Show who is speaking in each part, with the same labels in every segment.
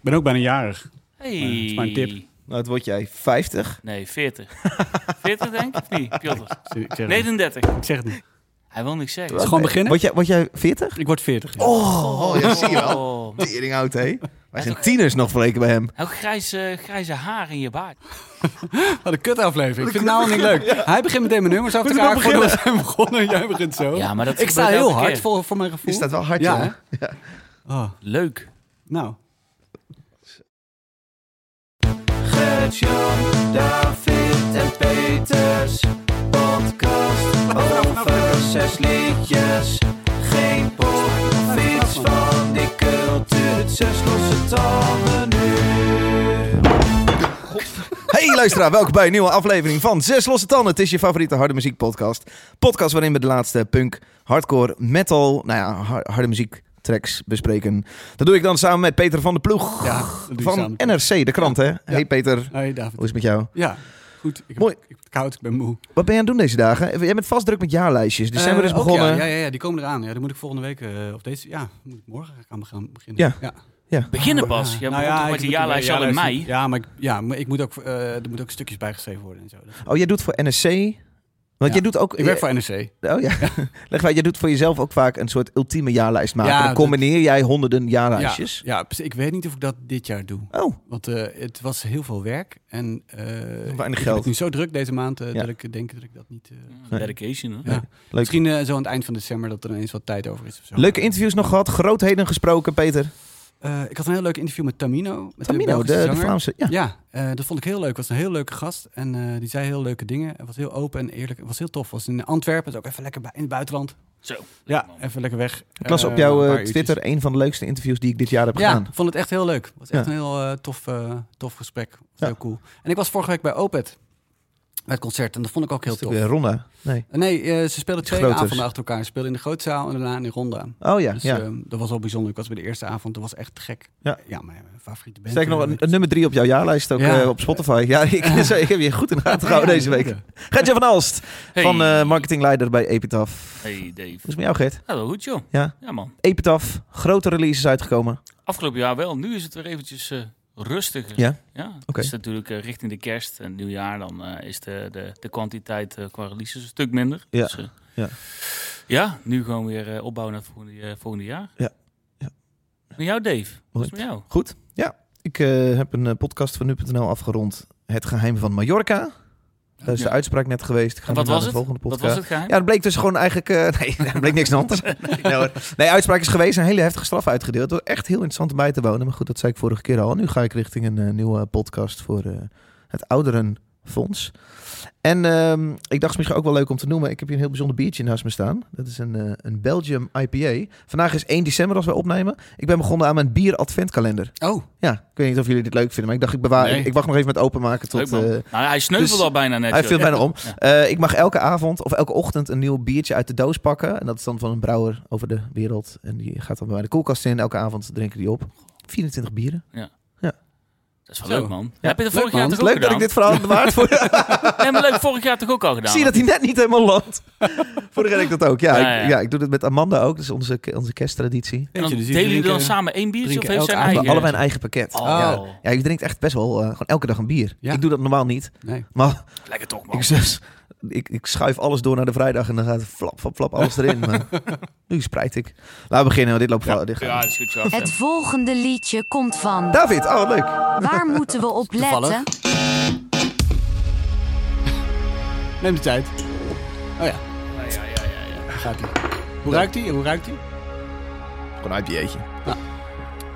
Speaker 1: ben ook bijna jarig.
Speaker 2: Hey.
Speaker 1: Ja, dat is mijn tip.
Speaker 3: Nou, het word jij 50.
Speaker 2: Nee, 40. 40 denk ik of niet, Piotr?
Speaker 1: Ik zeg, het,
Speaker 2: 39.
Speaker 1: ik zeg het niet.
Speaker 2: Hij wil niks zeggen.
Speaker 1: Dus gewoon beginnen?
Speaker 3: Word jij, word jij 40?
Speaker 1: Ik word 40. ja.
Speaker 3: Oh, oh ja, zie je wel.
Speaker 2: Oh.
Speaker 3: Tering oud, hé. Wij zijn tieners nog vergeleken bij hem.
Speaker 2: Ook grijze, grijze haar in je baard.
Speaker 1: Wat een kutaflevering. Ik vind het nou niet leuk. Hij begint meteen mijn nummers af te
Speaker 3: Moet ik nou
Speaker 1: raken voordat we zijn begonnen. Jij begint zo.
Speaker 2: Ja, maar dat
Speaker 1: ik sta
Speaker 2: gebeurt
Speaker 1: heel
Speaker 2: elke
Speaker 1: hard
Speaker 2: keer.
Speaker 1: voor, voor mijn gevoel.
Speaker 3: Je staat wel hard,
Speaker 1: Ja,
Speaker 3: ja.
Speaker 1: Oh,
Speaker 2: Leuk.
Speaker 1: nou.
Speaker 4: David en Peters. Podcast over zes liedjes. Geen pop, fiets van die cultuur. Zes losse tanden nu.
Speaker 3: Hey luisteraar, welkom bij een nieuwe aflevering van Zes Losse Tanden. Het is je favoriete harde muziek podcast. Podcast waarin we de laatste punk, hardcore, metal, nou ja, har- harde muziek tracks bespreken. Dat doe ik dan samen met Peter van de Ploeg
Speaker 1: Ja, dat doe ik
Speaker 3: van
Speaker 1: samen.
Speaker 3: NRC, de krant hè. Hey Peter, hoe
Speaker 1: Hey
Speaker 3: is
Speaker 1: David.
Speaker 3: het met jou?
Speaker 1: Ja, goed. Ik, heb-
Speaker 3: Mooi.
Speaker 1: ik ben koud, ik ben moe.
Speaker 3: Wat ben je aan het doen deze dagen? Jij bent vast druk met jaarlijstjes. December
Speaker 1: Eh,
Speaker 3: is
Speaker 1: ook
Speaker 3: begonnen.
Speaker 1: Ja, ja, ja, ja, die komen eraan. Ja, dan moet ik volgende week, eh, of deze, ja, moet ik morgen eigenlijk aan gaan beginnen.
Speaker 3: Ja.
Speaker 2: Beginnen pas.
Speaker 1: Nou
Speaker 2: Je begon toch
Speaker 1: ik
Speaker 2: met de
Speaker 1: moet-
Speaker 2: jaarlijst
Speaker 1: ja,
Speaker 2: al in
Speaker 1: jaarlijst-
Speaker 2: mei.
Speaker 1: Ja, maar, ik- ja, maar ik moet ook, eh, er moeten ook stukjes bijgeschreven worden en zo. Dat-
Speaker 3: Oh, jij doet voor NRC? Want
Speaker 1: Ja.
Speaker 3: jij doet ook...
Speaker 1: Ik werk voor NRC.
Speaker 3: Oh ja. Leg uit, jij doet voor jezelf ook vaak een soort ultieme jaarlijst maken.
Speaker 1: Ja,
Speaker 3: dan combineer jij honderden jaarlijstjes.
Speaker 1: Ja, ja, precies. ik weet niet of ik dat dit jaar doe.
Speaker 3: Oh,
Speaker 1: Want eh, het was heel veel werk en eh, ik
Speaker 3: weinig
Speaker 1: heb
Speaker 3: geld.
Speaker 1: het nu zo druk deze maand eh,
Speaker 3: Ja.
Speaker 1: dat ik denk dat ik dat niet... eh,
Speaker 2: Ja, Dedication, hè?
Speaker 1: ja.
Speaker 3: leuk.
Speaker 1: Misschien eh, zo aan het eind van december dat er ineens wat tijd over is of zo.
Speaker 3: Leuke interviews nog gehad, grootheden gesproken, Peter.
Speaker 1: Eh, ik had een heel leuk interview met Tamino. Met
Speaker 3: Tamino, de,
Speaker 1: Belgische
Speaker 3: de
Speaker 1: zanger.
Speaker 3: Vlaamse. Ja.
Speaker 1: Ja, eh, dat vond ik heel leuk. was een heel leuke gast. En eh, die zei heel leuke dingen. Hij was heel open en eerlijk. Het was heel tof. was in Antwerpen. Dus ook even lekker bij, in het buitenland.
Speaker 2: Zo.
Speaker 1: Ja,
Speaker 2: man.
Speaker 1: even lekker weg.
Speaker 3: Ik las op
Speaker 1: Eh,
Speaker 3: jouw
Speaker 1: een
Speaker 3: eh,
Speaker 1: paar uurtjes.
Speaker 3: Twitter een van de leukste interviews die ik dit jaar heb
Speaker 1: Ja,
Speaker 3: gedaan.
Speaker 1: vond het echt heel leuk. Het was echt
Speaker 3: Ja.
Speaker 1: een heel eh, tof, eh, tof gesprek. Was
Speaker 3: Ja.
Speaker 1: Heel cool. En ik was vorige week bij Opet. Bij het concert. En dat vond ik ook heel
Speaker 3: Is het
Speaker 1: tof.
Speaker 3: weer Ronda. Nee.
Speaker 1: Nee, eh, ze speelden twee
Speaker 3: groters.
Speaker 1: avonden achter elkaar. Ze speelden in de grote zaal en daarna in de ronda.
Speaker 3: Oh ja,
Speaker 1: dus
Speaker 3: ja.
Speaker 1: ehm, dat was wel bijzonder. Ik was bij de eerste avond. Dat was echt gek.
Speaker 3: Ja.
Speaker 1: mijn favoriete band.
Speaker 3: Sterker nog, een,
Speaker 1: Eh,
Speaker 3: een nummer drie op jouw jaarlijst ook
Speaker 1: Ja.
Speaker 3: eh, op Spotify. Ja, ik, ik heb je goed in de gaten gehouden
Speaker 1: ja,
Speaker 3: deze week.
Speaker 1: zeker.
Speaker 3: Gertje van Alst,
Speaker 2: Hey.
Speaker 3: van eh, marketingleider bij Epitaph. Hoe
Speaker 2: Hey Dave.
Speaker 3: is het met jou, Gert?
Speaker 2: Nou, wel goed joh.
Speaker 3: Ja.
Speaker 2: Ja man.
Speaker 3: Epitaph, grote releases uitgekomen.
Speaker 2: Afgelopen jaar wel. Nu is het weer eventjes eh, rustiger.
Speaker 3: Ja?
Speaker 2: Ja. Het
Speaker 3: Oké.
Speaker 2: is natuurlijk eh, richting de kerst en nieuwjaar. Dan eh, is de, de, de kwantiteit eh, qua releases een stuk minder.
Speaker 3: Ja.
Speaker 2: eh,
Speaker 3: Ja.
Speaker 2: ja, nu gewoon weer eh, opbouwen naar het volgende, eh, volgende jaar.
Speaker 3: Ja. Ja.
Speaker 2: Met jou Dave. Wat
Speaker 3: Mooi.
Speaker 2: is het met jou?
Speaker 3: Goed, ja. Ik eh, heb een eh, podcast van nu.nl afgerond. Het geheim van Mallorca. Daar is
Speaker 2: Ja.
Speaker 3: de uitspraak net geweest. Ik ga
Speaker 2: En wat
Speaker 3: nu naar
Speaker 2: was
Speaker 3: de
Speaker 2: het?
Speaker 3: volgende
Speaker 2: Wat
Speaker 3: podcast.
Speaker 2: was het geheim?
Speaker 3: Ja, dat bleek dus gewoon eigenlijk... eh, nee, er bleek niks aan anders. Nee, nee, hoor. nee, uitspraak is geweest. Een hele heftige straf uitgedeeld. Door echt heel interessant om bij te wonen. Maar goed, dat zei ik vorige keer al. Nu ga ik richting een eh, nieuwe podcast voor eh, het Ouderenfonds. En ehm, ik dacht het is misschien ook wel leuk om te noemen. Ik heb hier een heel bijzonder biertje naast me staan. Dat is een, eh, een Belgium IPA. Vandaag is 1 december als wij opnemen. Ik ben begonnen aan mijn bier adventkalender.
Speaker 1: Oh,
Speaker 3: Ja, ik weet niet of jullie dit leuk vinden. Maar ik dacht, ik, bewaar,
Speaker 2: Nee.
Speaker 3: ik, ik wacht nog even met openmaken
Speaker 2: Leuk,
Speaker 3: tot...
Speaker 2: man.
Speaker 3: eh,
Speaker 2: nou, hij sneuvelde
Speaker 3: dus-
Speaker 2: al bijna net.
Speaker 3: hij
Speaker 2: joh.
Speaker 3: viel bijna om.
Speaker 2: Ja.
Speaker 3: Eh, ik mag elke avond of elke ochtend een nieuw biertje uit de doos pakken. En dat is dan van een brouwer over de wereld. En die gaat dan bij mij de koelkast in. Elke avond drinken die op. 24 bieren.
Speaker 2: Dat is wel
Speaker 1: Zo.
Speaker 2: leuk man.
Speaker 3: Ja.
Speaker 2: Heb je dat vorig
Speaker 1: man.
Speaker 2: jaar
Speaker 3: Het
Speaker 2: toch
Speaker 3: is
Speaker 2: ook
Speaker 3: leuk dat
Speaker 2: gedaan?
Speaker 3: ik dit verhaal bewaard voor.
Speaker 2: Nee, maar leuk vorig jaar toch ook al gedaan?
Speaker 3: Zie dat hij net niet helemaal landt. Vorige keer had ik dat ook. Ja,
Speaker 2: Ja,
Speaker 3: ik,
Speaker 2: ja. Ah,
Speaker 3: ja, ik doe dit met Amanda ook. Dat is onze, onze kersttraditie.
Speaker 2: En dan
Speaker 1: Eentje, dus die
Speaker 2: delen jullie dan
Speaker 1: drinken-
Speaker 2: samen één biertje of
Speaker 1: drinken
Speaker 2: heeft
Speaker 1: elk
Speaker 2: zijn
Speaker 3: We
Speaker 2: eigen?
Speaker 3: hebben allebei een eigen pakket.
Speaker 2: Oh.
Speaker 3: Ja. ja, ik drink echt best wel eh, gewoon elke dag een bier.
Speaker 1: Ja.
Speaker 3: Ik doe dat normaal niet.
Speaker 1: nee.
Speaker 3: Maar
Speaker 2: Lekker toch man.
Speaker 3: ik, zus, ik, ik schuif alles door naar de vrijdag en dan gaat flap, flap, flap alles erin. maar nu spreid ik. Laten we beginnen, want dit loopt wel. dit gaat-
Speaker 2: Ja, dat is goed zo.
Speaker 5: Het volgende liedje komt van.
Speaker 3: David, oh wat leuk.
Speaker 5: Waar moeten we op
Speaker 1: Toevallig.
Speaker 5: letten?
Speaker 1: Neem de tijd. Oh ja, daar gaat hij. Hoe ruikt hij? Hoe ruikt hij?
Speaker 3: Gewoon een IPA'tje.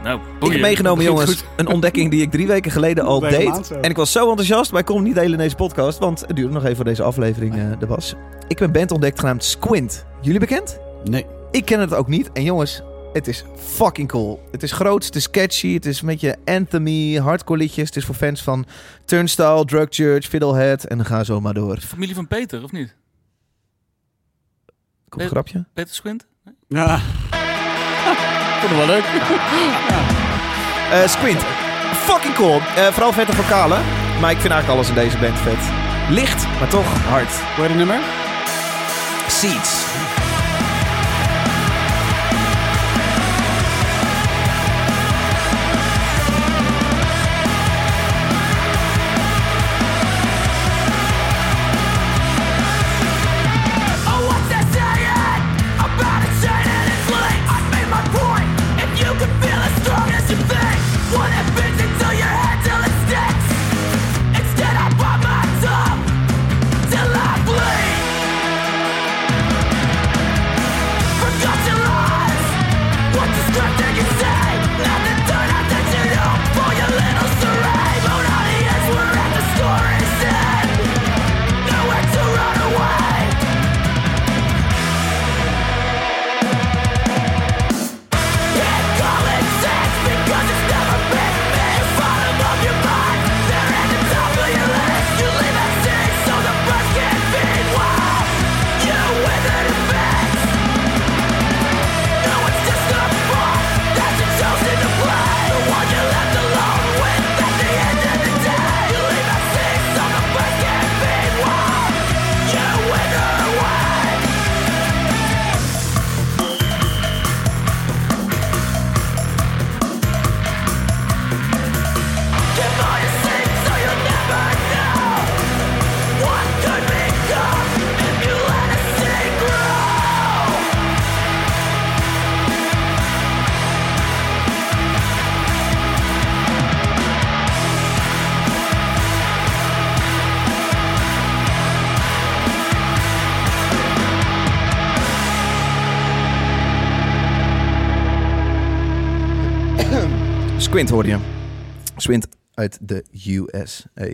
Speaker 2: Nou,
Speaker 3: Ik heb
Speaker 2: boeien.
Speaker 3: meegenomen,
Speaker 1: begint
Speaker 3: jongens, een ontdekking die ik drie weken geleden al
Speaker 1: Bij de maand
Speaker 3: deed.
Speaker 1: zo.
Speaker 3: En ik was zo enthousiast, maar ik kon hem niet delen in deze podcast, want het duurde nog even voor deze aflevering eh, er was. Ik heb een band ontdekt genaamd Squint. Jullie bekend?
Speaker 1: Nee.
Speaker 3: Ik ken het ook niet. En jongens, het is fucking cool. Het is groot, het is catchy, het is een beetje anthemy, hardcore liedjes. Het is voor fans van Turnstile, Drug Church, Fiddlehead en ga zo maar door.
Speaker 2: Familie van Peter, of niet?
Speaker 3: Komt een grapje?
Speaker 2: Peter Squint?
Speaker 1: Ja. Ah. Vond het wel leuk.
Speaker 3: Eh, Squint. Fucking cool. Eh, vooral vette vocalen. Maar ik vind eigenlijk alles in deze band vet. Licht, maar toch hard.
Speaker 1: Hoor je de nummer?
Speaker 3: Seeds.
Speaker 1: Ja,
Speaker 6: Oh, eh?
Speaker 3: Squint hoorde je. Squint uit de USA.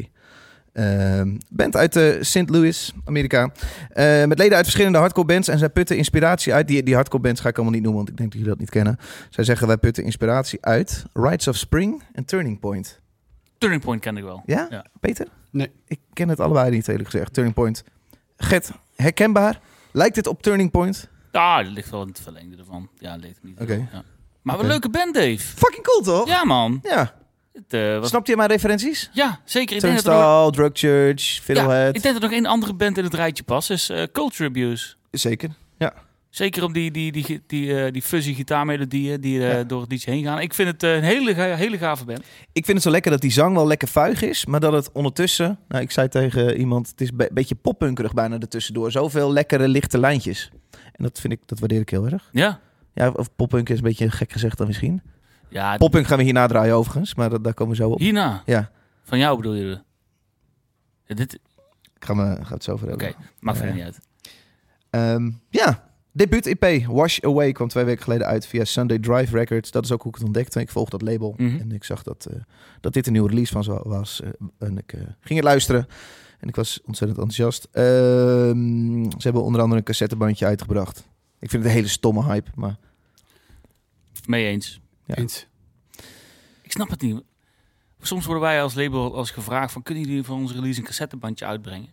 Speaker 3: Ehm band uit eh, St. Louis, Amerika. Eh, met leden uit verschillende hardcore bands. En zij putten inspiratie uit. Die, die hardcore bands ga ik allemaal niet noemen, want ik denk dat jullie dat niet kennen. Zij zeggen wij putten inspiratie uit Rites of Spring en Turning Point.
Speaker 2: Turning Point ken ik wel.
Speaker 3: Ja?
Speaker 2: Ja.
Speaker 3: Peter?
Speaker 1: Nee.
Speaker 3: Ik ken het allebei niet, eerlijk gezegd. Turning Point. Gert, herkenbaar? Lijkt het op Turning Point?
Speaker 2: Ah, dat ligt wel in het verlengde ervan. Ja, dat ligt niet.
Speaker 3: Oké.
Speaker 2: Ja. Maar wat
Speaker 3: Oké. Oh.
Speaker 2: een leuke band, Dave.
Speaker 3: Fucking cool, toch?
Speaker 2: Ja, man.
Speaker 3: Ja.
Speaker 2: Het, eh, was-
Speaker 3: Snapte je mijn referenties?
Speaker 2: Ja, zeker. Ik denk, dat er nog...
Speaker 3: Turnstile, Drug Church,
Speaker 2: ja,
Speaker 3: Fiddlehead.
Speaker 2: ik denk dat er nog één andere band in het rijtje past. Is eh, Culture Abuse.
Speaker 3: Zeker.
Speaker 2: Zeker om die, die, die, die, eh, die fuzzy gitaarmelodieën die eh,
Speaker 3: Ja.
Speaker 2: door het liedje heen gaan. Ik vind het eh, een hele, ga- hele gave band.
Speaker 3: Ik vind het zo lekker dat die zang wel lekker vuig is, maar dat het ondertussen... Nou, ik zei tegen iemand, het is een beetje poppunkerig bijna ertussendoor. Zoveel lekkere, lichte lijntjes. En dat vind ik, dat waardeer ik heel erg.
Speaker 2: Ja.
Speaker 3: Ja, of poppunk is een beetje gek gezegd dan misschien.
Speaker 2: Ja,
Speaker 3: Poppunk gaan we hierna draaien overigens, maar dat, daar komen we zo op.
Speaker 2: hierna.
Speaker 3: Ja,
Speaker 2: Van jou bedoel je? Ja, dit,
Speaker 3: ik ga, me, ga het zo over hebben.
Speaker 2: Oké, maakt verder
Speaker 3: Ja.
Speaker 2: niet uit.
Speaker 3: Ehm, ja, debuut EP Wash Away kwam twee weken geleden uit via Sunday Drive Records. Dat is ook hoe ik het ontdekte. Ik volg dat label
Speaker 2: Mhm.
Speaker 3: en ik zag dat, eh, dat dit een nieuwe release van zo- was. eh, en ik eh, ging het luisteren en ik was ontzettend enthousiast. Ehm, ze hebben onder andere een cassettebandje uitgebracht. Ik vind het een hele stomme hype, maar
Speaker 2: Mee eens.
Speaker 3: Ja.
Speaker 1: Eens.
Speaker 2: Ik snap het niet. Soms worden wij als label als gevraagd van... kunnen jullie van onze release een cassettebandje uitbrengen?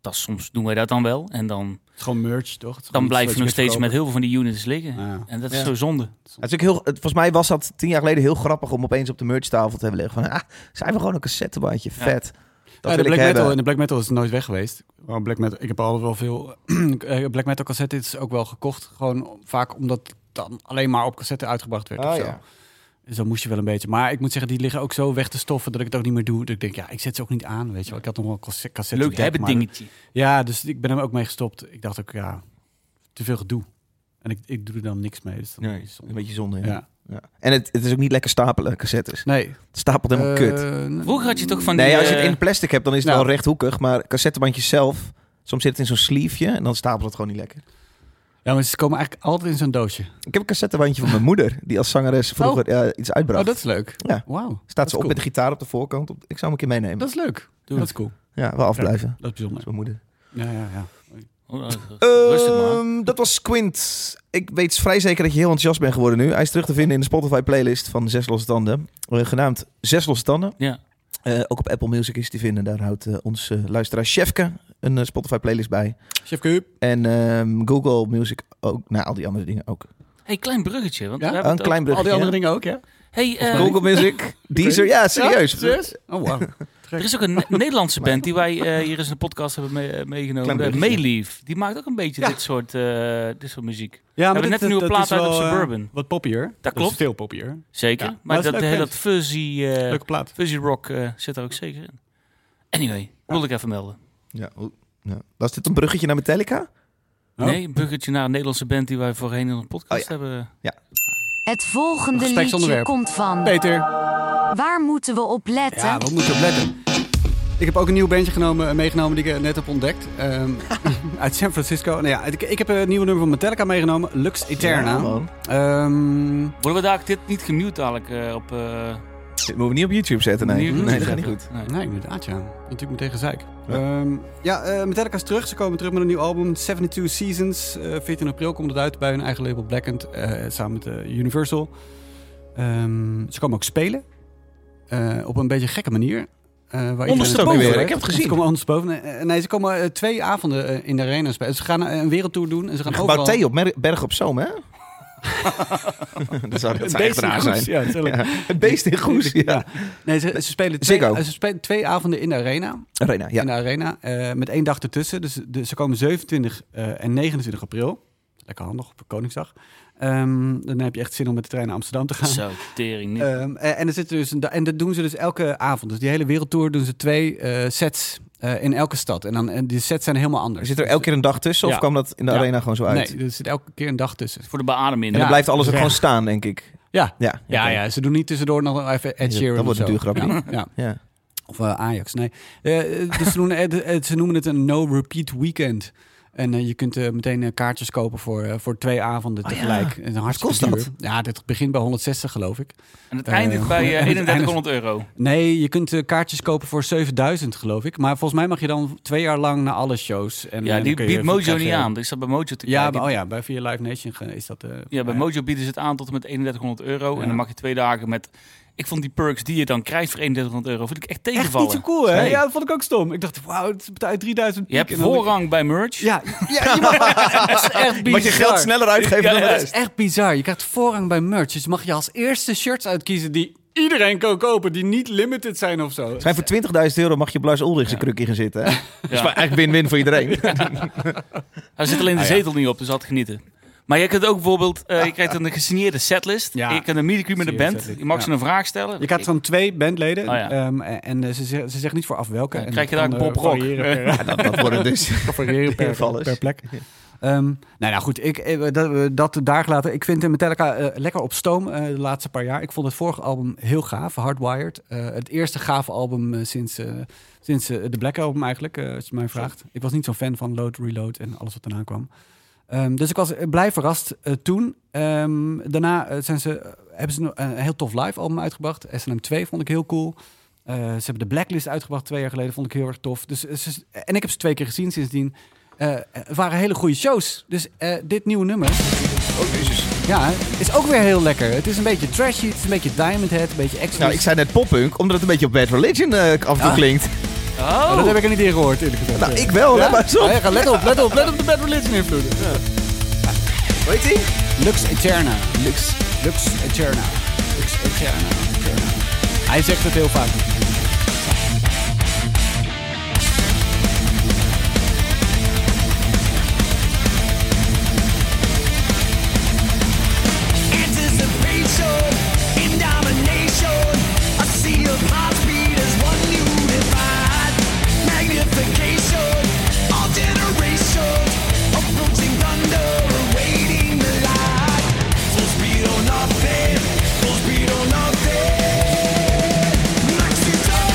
Speaker 2: Dat is- soms doen wij dat dan wel. En dan,
Speaker 1: Het is gewoon merch, toch? Het is
Speaker 2: dan
Speaker 1: gewoon
Speaker 2: blijven
Speaker 1: iets
Speaker 2: we nog
Speaker 1: wat je
Speaker 2: steeds met
Speaker 1: kunt
Speaker 2: heel veel van die units liggen.
Speaker 1: kopen. Ja.
Speaker 2: En dat is
Speaker 3: Ja.
Speaker 2: zo zonde.
Speaker 3: het is ook heel, het, volgens mij was dat tien jaar geleden heel grappig om opeens op de merchtafel te hebben liggen. Van, ah, ze hebben gewoon een cassettebandje, vet. Dat
Speaker 1: Ja, de
Speaker 3: wil ik
Speaker 1: black
Speaker 3: hebben.
Speaker 1: metal, en de black metal is nooit weg geweest. Maar black metal, ik heb al wel veel eh, black metal cassettes ook wel gekocht. Gewoon vaak omdat dan alleen maar op cassette uitgebracht werd.
Speaker 3: Ah,
Speaker 1: of zo.
Speaker 3: ja.
Speaker 1: Dus dan moest je wel een beetje. Maar ik moet zeggen, die liggen ook zo weg te stoffen dat ik het ook niet meer doe. Dat ik denk, ja, ik zet ze ook niet aan. Weet je wel, ik had nog wel een cassette. cassette
Speaker 2: Leuk
Speaker 1: deck,
Speaker 2: hebben
Speaker 1: maar-
Speaker 2: dingetje.
Speaker 1: Ja, dus ik ben hem ook mee gestopt. Ik dacht ook, ja, te veel gedoe. En ik, ik doe er dan niks mee. Dus dan is het zonde.
Speaker 3: Een beetje zonde, ja.
Speaker 1: Ja.
Speaker 3: Ja. En het, het is ook niet lekker stapelen, cassettes.
Speaker 1: Nee.
Speaker 3: Het stapelt
Speaker 1: Eh,
Speaker 3: helemaal kut.
Speaker 1: nee.
Speaker 2: Vroeger had je toch van die...
Speaker 3: Nee, als je het
Speaker 2: eh,
Speaker 3: in plastic hebt, dan is het
Speaker 1: nou.
Speaker 3: wel rechthoekig. Maar cassettebandjes zelf, soms zit het in zo'n sleeveje en dan stapelt het gewoon niet lekker.
Speaker 1: Ja, maar ze komen eigenlijk altijd in zo'n doosje. Oh,
Speaker 3: Ik heb een cassettebandje van mijn moeder, die als zangeres vroeger ja, iets uitbracht.
Speaker 1: Oh, dat is leuk.
Speaker 3: Ja.
Speaker 1: Wauw.
Speaker 3: Staat ze
Speaker 1: dat
Speaker 3: op
Speaker 1: is
Speaker 3: met
Speaker 1: cool.
Speaker 3: de gitaar op de voorkant. Op- Ik zou hem een keer meenemen.
Speaker 1: Dat is leuk.
Speaker 3: Doe.
Speaker 1: Dat is cool.
Speaker 3: Ja, wel
Speaker 1: Dat
Speaker 3: afblijven.
Speaker 1: is
Speaker 3: Dat
Speaker 1: bijzonder.
Speaker 3: is mijn moeder.
Speaker 1: Ja, ja, ja.
Speaker 2: oh, oh, Rustig maar.
Speaker 3: Ehm, dat was Squint. Ik weet vrij zeker dat je heel enthousiast bent geworden nu. Hij is terug te vinden in de Spotify playlist van Zes Losse Tanden. Eh, genaamd Zes Losse Tanden.
Speaker 2: Ja.
Speaker 3: Eh, ook op Apple Music is te vinden. Daar houdt eh, ons eh, luisteraar Chefke een eh, Spotify playlist bij.
Speaker 1: Chef Kuip.
Speaker 3: En ehm, Google Music ook. Nou, al die andere dingen ook.
Speaker 2: Hey, klein bruggetje. Want
Speaker 1: Ja?
Speaker 2: we hebben
Speaker 3: Een
Speaker 2: het
Speaker 3: klein
Speaker 1: Al die
Speaker 3: bruggetje.
Speaker 1: andere dingen ook, ja?
Speaker 2: ook- Hey, eh,
Speaker 3: Google Music, Deezer. Ja, serieus.
Speaker 1: Ja, serieus? Oh, wauw.
Speaker 2: er is ook een Ne- Nederlandse band die wij eh, hier eens in de podcast hebben mee- eh, meegenomen.
Speaker 3: Klein
Speaker 2: Eh,
Speaker 3: bruggetje.
Speaker 2: Mayleaf. Die maakt ook een beetje
Speaker 1: Ja.
Speaker 2: dit, soort, eh, dit soort muziek.
Speaker 1: Ja,
Speaker 2: hebben net een nieuwe plaat uit op Suburban.
Speaker 1: eh, wat poppier. is
Speaker 2: klopt.
Speaker 1: veel poppier.
Speaker 2: Zeker.
Speaker 1: Ja, maar
Speaker 2: maar
Speaker 1: dat is
Speaker 2: dat,
Speaker 1: leuk
Speaker 2: eh,
Speaker 1: band.
Speaker 2: dat fuzzy, eh,
Speaker 1: Leuke plaat.
Speaker 2: fuzzy rock eh, zit er ook zeker in. Anyway, wil ik even melden.
Speaker 3: Ja, oe- ja. Was dit een bruggetje naar Metallica?
Speaker 1: Oh.
Speaker 2: Nee, een bruggetje naar een Nederlandse band die wij voorheen in een podcast
Speaker 3: Oh
Speaker 2: hebben. eh,
Speaker 5: Het volgende liedje
Speaker 1: Gespreksonderwerp.
Speaker 5: komt van.
Speaker 1: Peter.
Speaker 5: Waar moeten we op letten?
Speaker 1: Ja, wat moet je op letten? Ik heb ook een nieuw bandje genomen, meegenomen die ik eh, net heb ontdekt. Ehm, uit San Francisco. Nou ja, ik, ik heb een nieuwe nummer van Metallica meegenomen. Lux
Speaker 3: Ja,
Speaker 1: Eterna.
Speaker 3: man.
Speaker 1: Ehm,
Speaker 2: Worden we daar dit niet gemute dadelijk eh, op... eh,
Speaker 3: Dit moeten we niet op YouTube zetten, nee.
Speaker 2: nieuw-
Speaker 3: Nee, dat gaat niet
Speaker 2: zetten?
Speaker 3: goed.
Speaker 2: Nee.
Speaker 1: Nee, inderdaad, ja. Natuurlijk meteen gezeik.
Speaker 3: Ja.
Speaker 1: Ja, ja eh, Metallica is terug. Ze komen terug met een nieuw album, 72 Seasons. Eh, 14 april komt het uit bij hun eigen label Blackened, eh, samen met eh, Universal. Ehm, ze komen ook spelen, eh, op een beetje gekke manier. eh, waar iedereen-
Speaker 3: Ondersteboven,
Speaker 1: Ze
Speaker 3: ik
Speaker 1: komen-
Speaker 3: heb het gezien.
Speaker 1: Ze komen ondersteboven. Eh, eh, nee, ze komen eh, twee avonden eh, in de arena spelen. Ze gaan eh, een wereldtour doen en ze gaan
Speaker 3: Gebouw
Speaker 1: overal...
Speaker 3: thee op Mer- Berg op Zoom, hè? dat zou, dat
Speaker 1: Het
Speaker 3: zou echt
Speaker 1: beest in
Speaker 3: raar
Speaker 1: Goes,
Speaker 3: zijn.
Speaker 1: Ja, het is heel leuk.
Speaker 3: Ja, Het beest in Goes, ja.
Speaker 1: Ja. Nee, ze, ze spelen twee, eh,
Speaker 3: Ziggo.
Speaker 1: ze spelen twee avonden in de arena.
Speaker 3: Arena, ja.
Speaker 1: in de arena. eh, met één dag ertussen. Dus de, ze komen 27 eh, en 29 april. Lekker handig op Koningsdag. Ehm, dan heb je echt zin om met de trein naar Amsterdam te gaan.
Speaker 2: Zo, tering niet.
Speaker 1: Ehm, en, en, er zit dus een, da- en dat doen ze dus elke avond. Dus die hele wereldtour doen ze twee eh, sets eh, in elke stad. En, dan, en die sets zijn helemaal anders.
Speaker 3: Zit er elke keer een dag tussen of
Speaker 1: Ja.
Speaker 3: kwam dat in de
Speaker 1: Ja.
Speaker 3: arena gewoon zo uit?
Speaker 1: Nee, er zit elke keer een dag tussen.
Speaker 2: Voor de beademing.
Speaker 3: En dan
Speaker 1: Ja.
Speaker 3: blijft alles ook gewoon staan, denk ik.
Speaker 1: Ja.
Speaker 3: Ja,
Speaker 1: Ja,
Speaker 3: oké.
Speaker 1: ja, ze doen niet tussendoor nog even Ed
Speaker 3: Ja,
Speaker 1: Sheeran
Speaker 3: dat wordt
Speaker 1: of zo.
Speaker 3: natuurlijk grappig.
Speaker 1: Ja, ja.
Speaker 3: ja.
Speaker 1: Of eh, Ajax, nee. Eh, eh, dus ze, doen, eh, de- eh, ze noemen het een no-repeat weekend. En eh, je kunt eh, meteen eh, kaartjes kopen voor, eh, voor twee avonden
Speaker 3: Oh ja.
Speaker 1: tegelijk. En hartstikke
Speaker 3: kost dat?
Speaker 1: duur. Ja, dit begint bij 160 geloof ik.
Speaker 2: En het
Speaker 1: Eh,
Speaker 2: eindigt bij
Speaker 1: en
Speaker 2: eh,
Speaker 1: het
Speaker 2: 3100 euro.
Speaker 1: Nee, je kunt eh, kaartjes kopen voor 7000 geloof ik. Maar volgens mij mag je dan twee jaar lang naar alle shows. En,
Speaker 2: Ja,
Speaker 1: eh,
Speaker 2: die
Speaker 1: dan kun je-
Speaker 2: biedt Mojo
Speaker 1: krijg
Speaker 2: niet
Speaker 1: je-
Speaker 2: aan. Dus dat bij Mojo te
Speaker 1: Ja,
Speaker 2: krijgen.
Speaker 1: maar, oh ja, bij via Live Nation ge- is dat... eh,
Speaker 2: Ja, bij
Speaker 1: eh,
Speaker 2: Mojo bieden ze het aan tot en met 3100 euro.
Speaker 1: Ja.
Speaker 2: En dan mag je twee dagen met... Ik vond die perks die je dan krijgt voor 3100 euro, vind ik echt
Speaker 1: Echt niet
Speaker 2: tegenvallen.
Speaker 1: zo cool, hè?
Speaker 2: Nee.
Speaker 1: Ja, dat vond ik ook stom. Ik dacht, wauw, het betaalt 3000
Speaker 2: Je hebt
Speaker 1: piek en dan-
Speaker 2: voorrang bij merch.
Speaker 1: Ja, ja je mag, dat is echt bizar.
Speaker 3: Moet je geld sneller uitgeven
Speaker 2: Ja,
Speaker 3: dan de
Speaker 2: ja.
Speaker 1: Dat is
Speaker 3: rest.
Speaker 1: echt bizar. Je krijgt voorrang bij merch. Dus mag je als eerste shirts uitkiezen die iedereen kan kopen, die niet limited zijn of zo.
Speaker 3: Zijn voor 20.000 euro mag je Blas Ulrich zijn krukje gaan zitten. hè? Dat is
Speaker 2: Ja.
Speaker 3: maar echt win-win voor iedereen.
Speaker 2: Daar zit alleen de
Speaker 1: Ah, ja.
Speaker 2: zetel niet op, dus had genieten. Maar je kunt ook bijvoorbeeld, eh, je krijgt een gesigneerde setlist.
Speaker 1: Ja.
Speaker 2: Je kunt een meet met de
Speaker 1: Zie je,
Speaker 2: band.
Speaker 1: setlist.
Speaker 2: Je mag
Speaker 1: Ja.
Speaker 2: ze een vraag stellen.
Speaker 1: Je krijgt zo'n twee bandleden
Speaker 2: Oh ja.
Speaker 1: ehm, en, en, eh, ze, ze, ze zeggen niet voor af welke.
Speaker 2: Ja,
Speaker 1: En
Speaker 2: krijg je
Speaker 1: dat
Speaker 2: daar
Speaker 1: kan,
Speaker 2: ook
Speaker 1: eh,
Speaker 2: Bob Rock.
Speaker 1: variëren
Speaker 3: Ja, dat, dat worden dus.
Speaker 1: per, variëren per,
Speaker 3: Invallers.
Speaker 1: per plek. Ehm, nou, nou goed, ik, eh, dat, eh, dat daar gelaten. Ik vind eh, Metallica eh, lekker op stoom eh, de laatste paar jaar. Ik vond het vorige album heel gaaf, Hardwired. Eh, het eerste gave album eh, sinds, eh, sinds eh, de Black Album eigenlijk, eh, als je mij vraagt. Ik was niet zo'n fan van Load, Reload en alles wat daarna kwam. Ehm, dus ik was eh, blij verrast eh, toen. Ehm, daarna eh, zijn ze, hebben ze een, een heel tof live album uitgebracht. SNM 2 vond ik heel cool. Eh, ze hebben de Blacklist uitgebracht twee jaar geleden, vond ik heel erg tof. Dus, eh, ze- en ik heb ze twee keer gezien sindsdien. Eh, het waren hele goede shows. Dus eh, dit nieuwe nummer
Speaker 3: Oh,
Speaker 1: ja, is ook weer heel lekker. Het is een beetje trashy, het is een beetje Diamond Head, een beetje extra.
Speaker 3: Nou, ik zei net poppunk, omdat het een beetje op Bad Religion eh, af en toe
Speaker 1: Ja.
Speaker 3: klinkt.
Speaker 2: Oh!
Speaker 1: dat heb ik er niet in gehoord, eerlijk gezegd.
Speaker 3: Nou,
Speaker 1: Ja.
Speaker 3: ik wel,
Speaker 1: Ja?
Speaker 3: hè, maar zo.
Speaker 1: Oh, ja, ga- let op, let op, let op de Bad Religion invloeden.
Speaker 3: Weet je?
Speaker 1: Lux Eterna. Lux, Lux Eterna. Lux Eterna. Eterna. Hij zegt het heel vaak.
Speaker 6: Anticipation, in domination, a sea of hearts beat as one unified. Magnification, all generations, approaching thunder, awaiting the light. Full speed or nothing, full speed or nothing. Maximum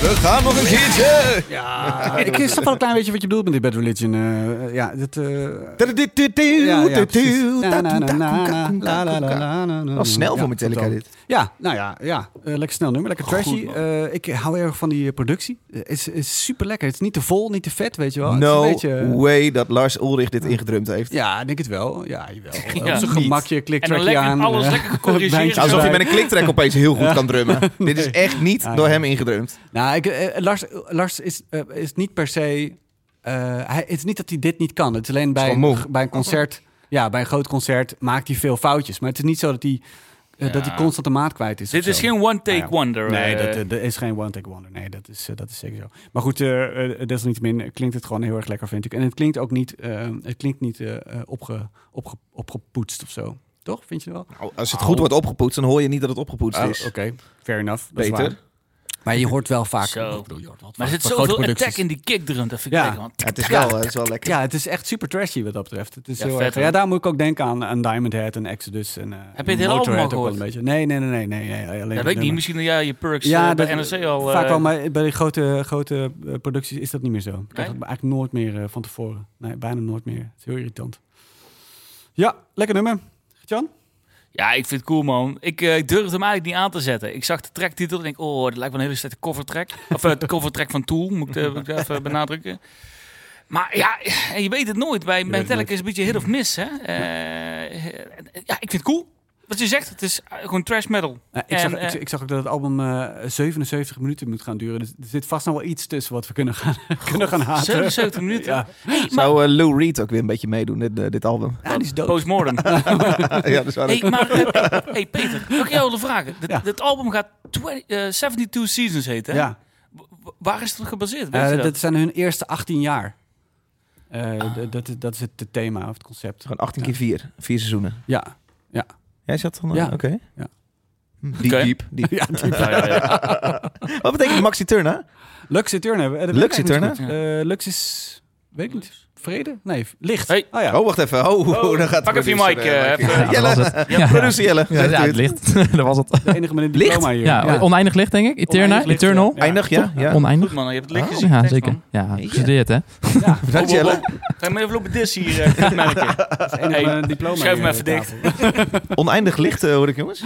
Speaker 3: We gaan nog een keertje.
Speaker 1: Ja, ik snap wel een klein beetje wat je bedoelt met die Bad Religion. eh, ja, dit... eh, Ja, ja, precies. Na, na, na, na, na, la, la, la, la, la, la.
Speaker 3: Wel snel voor
Speaker 1: Ja,
Speaker 3: Metallica
Speaker 1: goed
Speaker 3: dit.
Speaker 1: Ja, nou ja, ja. Eh, lekker snel nummer, lekker
Speaker 2: Goed,
Speaker 1: trashy.
Speaker 2: man.
Speaker 1: Eh, ik hou erg van die eh, productie. Eh, Het is, is super lekker. Het is niet te vol, niet te vet, weet je wel. Het is
Speaker 3: No
Speaker 1: een beetje, eh,
Speaker 3: way dat Lars Ulrich dit ingedrumd heeft.
Speaker 1: Ja, ik denk het wel. Ja, jawel.
Speaker 2: Ja,
Speaker 1: Op zijn
Speaker 3: niet.
Speaker 1: gemakje,
Speaker 2: En dan
Speaker 1: kliktrackje
Speaker 2: lekker
Speaker 1: aan.
Speaker 2: alles
Speaker 1: eh,
Speaker 2: lekker gecorrigeerd.
Speaker 1: bandje
Speaker 3: Alsof je
Speaker 1: erbij.
Speaker 3: met een kliktrek opeens heel goed kan drummen. Dit is echt niet
Speaker 1: Ja,
Speaker 3: door
Speaker 1: ja.
Speaker 3: hem ingedrumd.
Speaker 1: Nou, ik, eh, Lars, Lars is, eh, is niet per se. eh, hij, het is niet dat hij dit niet kan. Het is alleen bij,
Speaker 3: gewoon moe.
Speaker 1: een, bij een concert. Ja, bij een groot concert maakt hij veel foutjes. Maar het is niet zo dat hij, eh, dat
Speaker 2: Ja.
Speaker 1: hij constant de maat kwijt is.
Speaker 2: Dit
Speaker 1: of
Speaker 2: is
Speaker 1: zo.
Speaker 2: geen one-take
Speaker 1: Nou ja.
Speaker 2: wonder.
Speaker 1: Nee,
Speaker 2: eh.
Speaker 1: dat, eh, dat is geen one-take wonder. Nee, dat is, eh, dat is zeker zo. Maar goed, eh, eh, desalniettemin klinkt het gewoon heel erg lekker, vind ik. En het klinkt ook niet, eh, het klinkt niet eh, eh, opge, opge, opgepoetst of zo. Toch? Vind je wel?
Speaker 3: Nou, als het goed wordt opgepoetst, dan hoor je niet dat het opgepoetst
Speaker 1: Ah,
Speaker 3: is.
Speaker 1: Oké, fair enough. Dat is
Speaker 3: Beter.
Speaker 1: waar. Maar je hoort wel vaak.
Speaker 2: Zo.
Speaker 1: Ik bedoel, je hoort wel
Speaker 2: Maar er
Speaker 1: vaak
Speaker 2: zit
Speaker 1: van grote
Speaker 2: zoveel
Speaker 1: producties.
Speaker 2: attack in die kickdrum. Dat vind ik
Speaker 1: Ja.
Speaker 2: lekker. man.
Speaker 3: Ja, het, is wel, eh, het is wel lekker.
Speaker 1: Ja, het is echt super trashy wat dat betreft. Het is
Speaker 2: Ja,
Speaker 1: heel
Speaker 2: vet,
Speaker 1: erg-
Speaker 2: hè?
Speaker 1: ja, daar moet ik ook denken aan, aan Diamond Head en Exodus. En, eh,
Speaker 2: Heb je het hele
Speaker 1: Motorhead
Speaker 2: album al
Speaker 1: ook wel
Speaker 2: gehoord?
Speaker 1: Een beetje. Nee, nee, nee, nee. nee, nee alleen het
Speaker 2: Dat weet ik niet.
Speaker 1: nummer.
Speaker 2: Misschien dat jij je perks
Speaker 1: Ja,
Speaker 2: eh, bij
Speaker 1: dat-
Speaker 2: NRC al...
Speaker 1: Vaak
Speaker 2: eh,
Speaker 1: wel, maar bij die grote, grote eh, producties is dat niet meer zo. Ik krijg
Speaker 2: Nee?
Speaker 1: het eigenlijk nooit meer eh, van tevoren. Nee, bijna nooit meer. Het is heel irritant. Ja, lekker nummer. Jan?
Speaker 2: Ja, ik vind het cool, man. Ik eh, ik durfde hem eigenlijk niet aan te zetten. Ik zag de tracktitel en denk, oh, dat lijkt wel een hele slechte covertrack. Of eh, de covertrack van Tool, moet ik, eh, moet ik even benadrukken. Maar ja, en je weet het nooit. Bij
Speaker 1: weet het
Speaker 2: Metallica
Speaker 1: nooit.
Speaker 2: is het een beetje hit of miss, hè. Eh, ja, ik vind het cool. Wat je zegt, het is eh, gewoon trash metal.
Speaker 1: Nou, ik,
Speaker 2: En,
Speaker 1: zag,
Speaker 2: eh,
Speaker 1: ik, ik zag ook dat het album eh, 77 minuten moet gaan duren. Dus er zit vast nog wel iets tussen wat we kunnen gaan, kunnen gaan haten.
Speaker 2: 77 minuten.
Speaker 1: Ja.
Speaker 3: Zou eh, Lou Reed ook weer een beetje meedoen, dit, eh, dit album?
Speaker 1: Ja, die is dood.
Speaker 2: Postmortem.
Speaker 3: ja, dat is waar.
Speaker 2: hey, maar eh, hey, Peter, mag ik jou willen vragen? Dat,
Speaker 1: Ja.
Speaker 2: dat album gaat 20, eh, 72 Seasons heten, hè?
Speaker 1: Ja.
Speaker 2: W- w- Waar is het op gebaseerd? Weet
Speaker 1: Eh,
Speaker 2: je
Speaker 1: dat?
Speaker 2: dat?
Speaker 1: zijn hun eerste 18 jaar. Eh, d- dat, is- dat is het eh, thema of het concept.
Speaker 3: Gewoon 18 keer 4. Vier seizoenen.
Speaker 1: Ja.
Speaker 3: Jij zat dan... eh,
Speaker 1: Ja.
Speaker 3: Oké.
Speaker 1: Ja.
Speaker 3: Hm, Diep,
Speaker 2: Oké.
Speaker 3: diep, diep.
Speaker 1: ja die-
Speaker 2: Ja, ja, ja.
Speaker 3: Wat betekent Maxi Turner?
Speaker 1: Luxe Turner. Eh, dat weet ik
Speaker 3: Luxe
Speaker 1: eigenlijk niet
Speaker 2: Turner?
Speaker 1: zo goed. Eh, Lux is... Weet ik niet. Vrede? Nee, v- licht.
Speaker 2: Hey.
Speaker 1: Oh ja.
Speaker 3: Oh, wacht even. Oh,
Speaker 2: Oh,
Speaker 3: dan gaat
Speaker 2: pak
Speaker 3: de
Speaker 2: even je
Speaker 3: producer,
Speaker 2: mic,
Speaker 3: eh,
Speaker 2: eh, even.
Speaker 7: Ja, dat was
Speaker 3: Jelle.
Speaker 7: het.
Speaker 3: Ja, producer Jelle.
Speaker 7: Ja, ja, het licht. dat was het.
Speaker 1: De enige met een
Speaker 3: Licht?
Speaker 1: diploma hier.
Speaker 7: Ja, oneindig licht, denk ik. Eterna,
Speaker 1: Oneindig licht,
Speaker 7: Eternal.
Speaker 1: ja.
Speaker 3: Eindig, ja? ja.
Speaker 7: Oneindig.
Speaker 2: Goed man, je hebt het licht gezien.
Speaker 7: Oh, Ja,
Speaker 2: Thanks,
Speaker 7: zeker.
Speaker 2: man.
Speaker 7: Ja, gestudeerd, hè?
Speaker 1: Ja,
Speaker 3: Bedankt,
Speaker 2: Ho, ho,
Speaker 3: Jelle.
Speaker 2: ho. Ga je me even lopen dissen hier, eh, goed merken.
Speaker 1: dat is de enige
Speaker 2: Hey,
Speaker 1: met een diploma
Speaker 2: schuif
Speaker 1: hier
Speaker 2: hem
Speaker 1: aan
Speaker 2: even
Speaker 1: de
Speaker 2: dicht.
Speaker 1: tafel.
Speaker 3: Oneindig licht eh, hoor ik, jongens.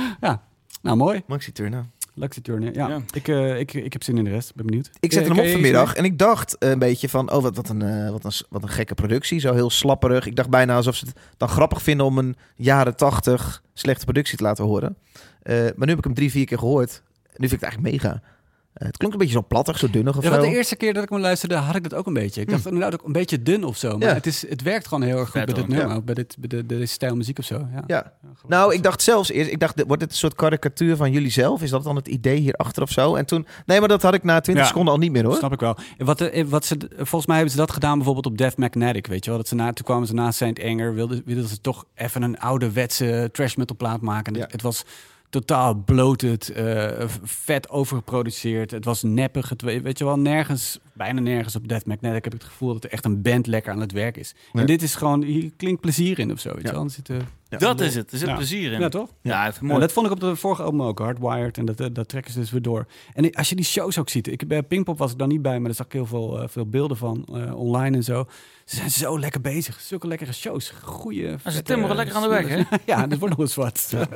Speaker 1: Nou, mooi.
Speaker 3: Maxi Turner.
Speaker 1: Luxe Turner. Ja,
Speaker 2: Ja.
Speaker 1: Ik, eh, ik, ik heb zin in de rest. Ben benieuwd.
Speaker 3: Ik zet
Speaker 1: Eh,
Speaker 3: hem
Speaker 1: kan
Speaker 3: op
Speaker 1: je-
Speaker 3: vanmiddag en ik dacht een beetje van... Oh, wat, wat, een, eh, wat, een, s- wat een gekke productie. Zo heel slapperig. Ik dacht bijna alsof ze het dan grappig vinden... om een jaren tachtig slechte productie te laten horen. Eh, maar nu heb ik hem drie, vier keer gehoord. Nu vind ik het eigenlijk mega. Eh, het klonk een beetje zo plattig, zo dunnig of
Speaker 1: Ja,
Speaker 3: zo. Hmm.
Speaker 1: want de eerste keer dat ik hem luisterde, had ik dat ook een beetje. Ik dacht inderdaad ook een beetje dun of zo. Maar
Speaker 3: Ja.
Speaker 1: het, is, het werkt gewoon heel erg goed
Speaker 2: Vet,
Speaker 1: bij dit
Speaker 2: hoor.
Speaker 1: nummer.
Speaker 3: Ja.
Speaker 1: ook Bij, dit, bij de, de, deze stijl muziek of zo. Ja.
Speaker 3: Ja.
Speaker 1: grappig.
Speaker 3: Nou, ik dacht zelfs eerst... Ik dacht, dit- wordt dit een soort karikatuur van jullie zelf? Is dat dan het idee hierachter of zo? En toen... Nee, maar dat had ik na twintig
Speaker 1: Ja.
Speaker 3: seconden al niet meer, hoor.
Speaker 1: Snap ik wel. En Wat, eh, wat ze, volgens mij hebben ze dat gedaan bijvoorbeeld op Death Magnetic, weet je wel. Dat ze na, toen kwamen ze na Saint Anger, wilden, wilden ze toch even een ouderwetse trash metal plaat maken.
Speaker 3: Ja.
Speaker 1: Het, het was totaal bloated, eh, v- vet overgeproduceerd. Het was neppig. Het, we- weet je wel, nergens, bijna nergens op Death Magnetic heb ik het gevoel dat er echt een band lekker aan het werk is.
Speaker 3: Nee.
Speaker 1: En dit is gewoon, hier klinkt plezier in of zo, weet je
Speaker 3: Ja.
Speaker 1: wel. Er zit, eh,
Speaker 2: Dat is het. Er zit
Speaker 1: Ja.
Speaker 2: plezier in.
Speaker 1: ja, toch?
Speaker 2: Ja, even
Speaker 1: Ja,
Speaker 2: mooi.
Speaker 1: dat vond ik op de vorige album ook, Hardwired. En dat, eh, dat trekken ze dus weer door. En als je die shows ook ziet. Ik, bij Pinkpop was ik dan niet bij, maar daar zag ik heel veel, eh, veel beelden van eh, online en zo. Ze zijn zo lekker bezig. Zulke lekkere shows. Goeie. vette-
Speaker 2: timmeren lekker aan de weg, hè?
Speaker 1: ja, dat wordt nog eens wat. Ja.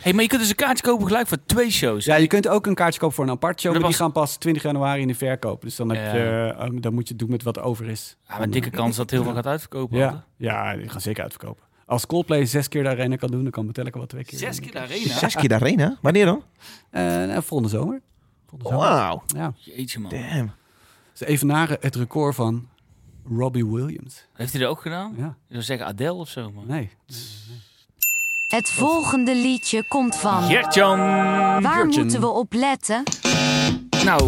Speaker 2: Hey, maar je kunt dus een kaartje kopen gelijk voor twee shows.
Speaker 1: je kunt ook een kaartje kopen voor een apart show.
Speaker 2: Maar
Speaker 1: Maar
Speaker 2: dat
Speaker 1: die gaan pas 20 januari in de verkoop. Dus dan, heb
Speaker 2: Ja.
Speaker 1: je, eh, um, dan moet je het doen met wat over is.
Speaker 2: Ja, Ah, maar dikke kans dat heel veel gaat uitverkopen.
Speaker 1: Ja,
Speaker 2: hoor.
Speaker 1: ja, die gaan zeker uitverkopen. Als Coldplay zes keer de arena kan doen, dan kan Metallica wat twee keer.
Speaker 2: Zes
Speaker 1: doen.
Speaker 2: keer de arena.
Speaker 3: Zes keer de arena? Wanneer dan?
Speaker 1: Eh, nou, volgende zomer. Volgende zomer.
Speaker 3: Oh, Wauw.
Speaker 1: Ja.
Speaker 2: Jeetje, man.
Speaker 3: Damn.
Speaker 1: Ze evenaren het record van Robbie Williams.
Speaker 2: Heeft hij dat ook gedaan?
Speaker 1: Ja,
Speaker 2: Je zou zeggen Adele of zo, man.
Speaker 1: nee.
Speaker 5: Het volgende liedje komt van.
Speaker 2: Gert-Jan!
Speaker 5: Waar
Speaker 1: Jurgen.
Speaker 5: moeten we op letten?
Speaker 2: Nou, eh,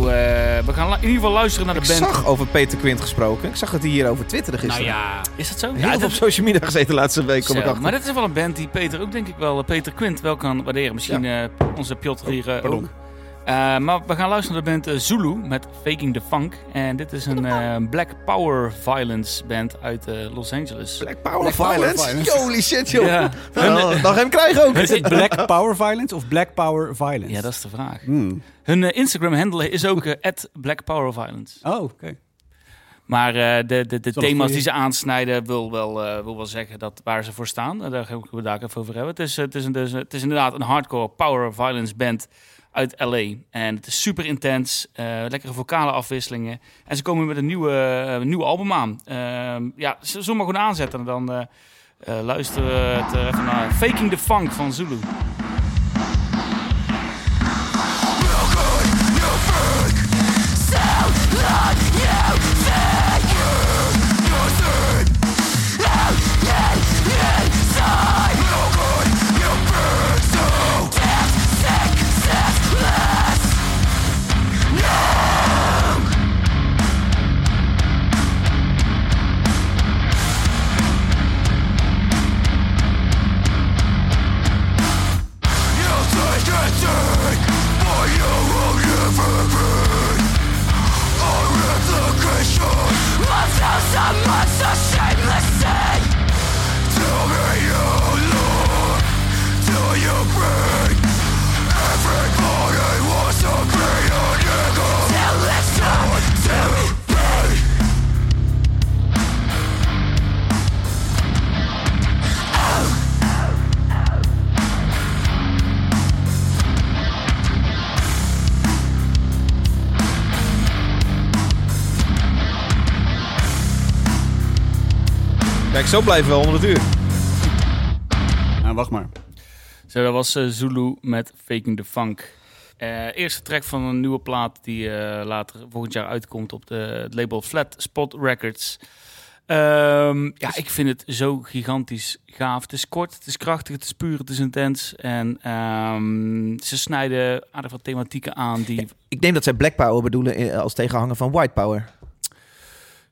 Speaker 2: we gaan lu- in ieder geval luisteren naar
Speaker 3: Ik
Speaker 2: de band.
Speaker 3: zag over Peter Quint gesproken. Ik zag dat hij hierover twitterde
Speaker 2: Nou
Speaker 3: gisteren.
Speaker 2: ja, is dat zo?
Speaker 3: Heel
Speaker 2: ja,
Speaker 3: veel
Speaker 2: dat-
Speaker 3: op social media gezeten de laatste week, kom ik
Speaker 2: Zo,
Speaker 3: achter.
Speaker 2: maar dat is wel
Speaker 3: Oh,
Speaker 2: een band die Peter ook, denk ik wel, eh, Peter Quint wel kan waarderen. Misschien eh, onze Piotr hier eh, ook. Eh, maar we gaan luisteren naar de band eh, Zulu met Faking the Funk. En dit is een eh, Black Power Violence band uit eh, Los Angeles.
Speaker 3: Black Power
Speaker 1: Black Power
Speaker 3: Violence.
Speaker 1: Violence.
Speaker 3: Holy shit, joh.
Speaker 2: Ja.
Speaker 3: Nou, nog hem krijgen ook.
Speaker 1: Is het Black Power Violence of Black Power Violence?
Speaker 2: Ja, dat is de vraag.
Speaker 1: Hmm.
Speaker 2: Hun eh, Instagram-handle is ook eh, at Black Power Violence.
Speaker 1: Oh, oké.
Speaker 2: Maar eh, de, de, de
Speaker 1: wel een
Speaker 2: thema's
Speaker 1: goeie.
Speaker 2: die ze aansnijden wil wel, eh, wil wel zeggen dat waar ze voor staan. En daar gaan we het daar even over hebben. Het is, eh, het, is een, dus, eh, het is inderdaad een hardcore power violence band uit L.A. En het is super intens, eh, lekkere vocale afwisselingen. En ze komen met een nieuwe, eh, een nieuw album aan. Ehm, ja, z- zullen we maar gewoon aanzetten en dan eh eh, luisteren we het, eh, even naar Faking the Funk van Zulu.
Speaker 3: Kijk, zo blijven we onder het uur.
Speaker 1: Nou, wacht maar.
Speaker 2: Zo, dat was eh, Zulu met Faking the Funk. Eh, eerste track van een nieuwe plaat die eh, later volgend jaar uitkomt op de, het label Flat Spot Records. Ehm,
Speaker 3: Dus
Speaker 2: ja, ik vind het zo gigantisch gaaf. Het is kort, het is krachtig, het is puur, het is intens. En ehm, ze snijden aardig wat thematieken aan die...
Speaker 3: Ik denk dat zij Black Power bedoelen eh, als tegenhanger van White Power.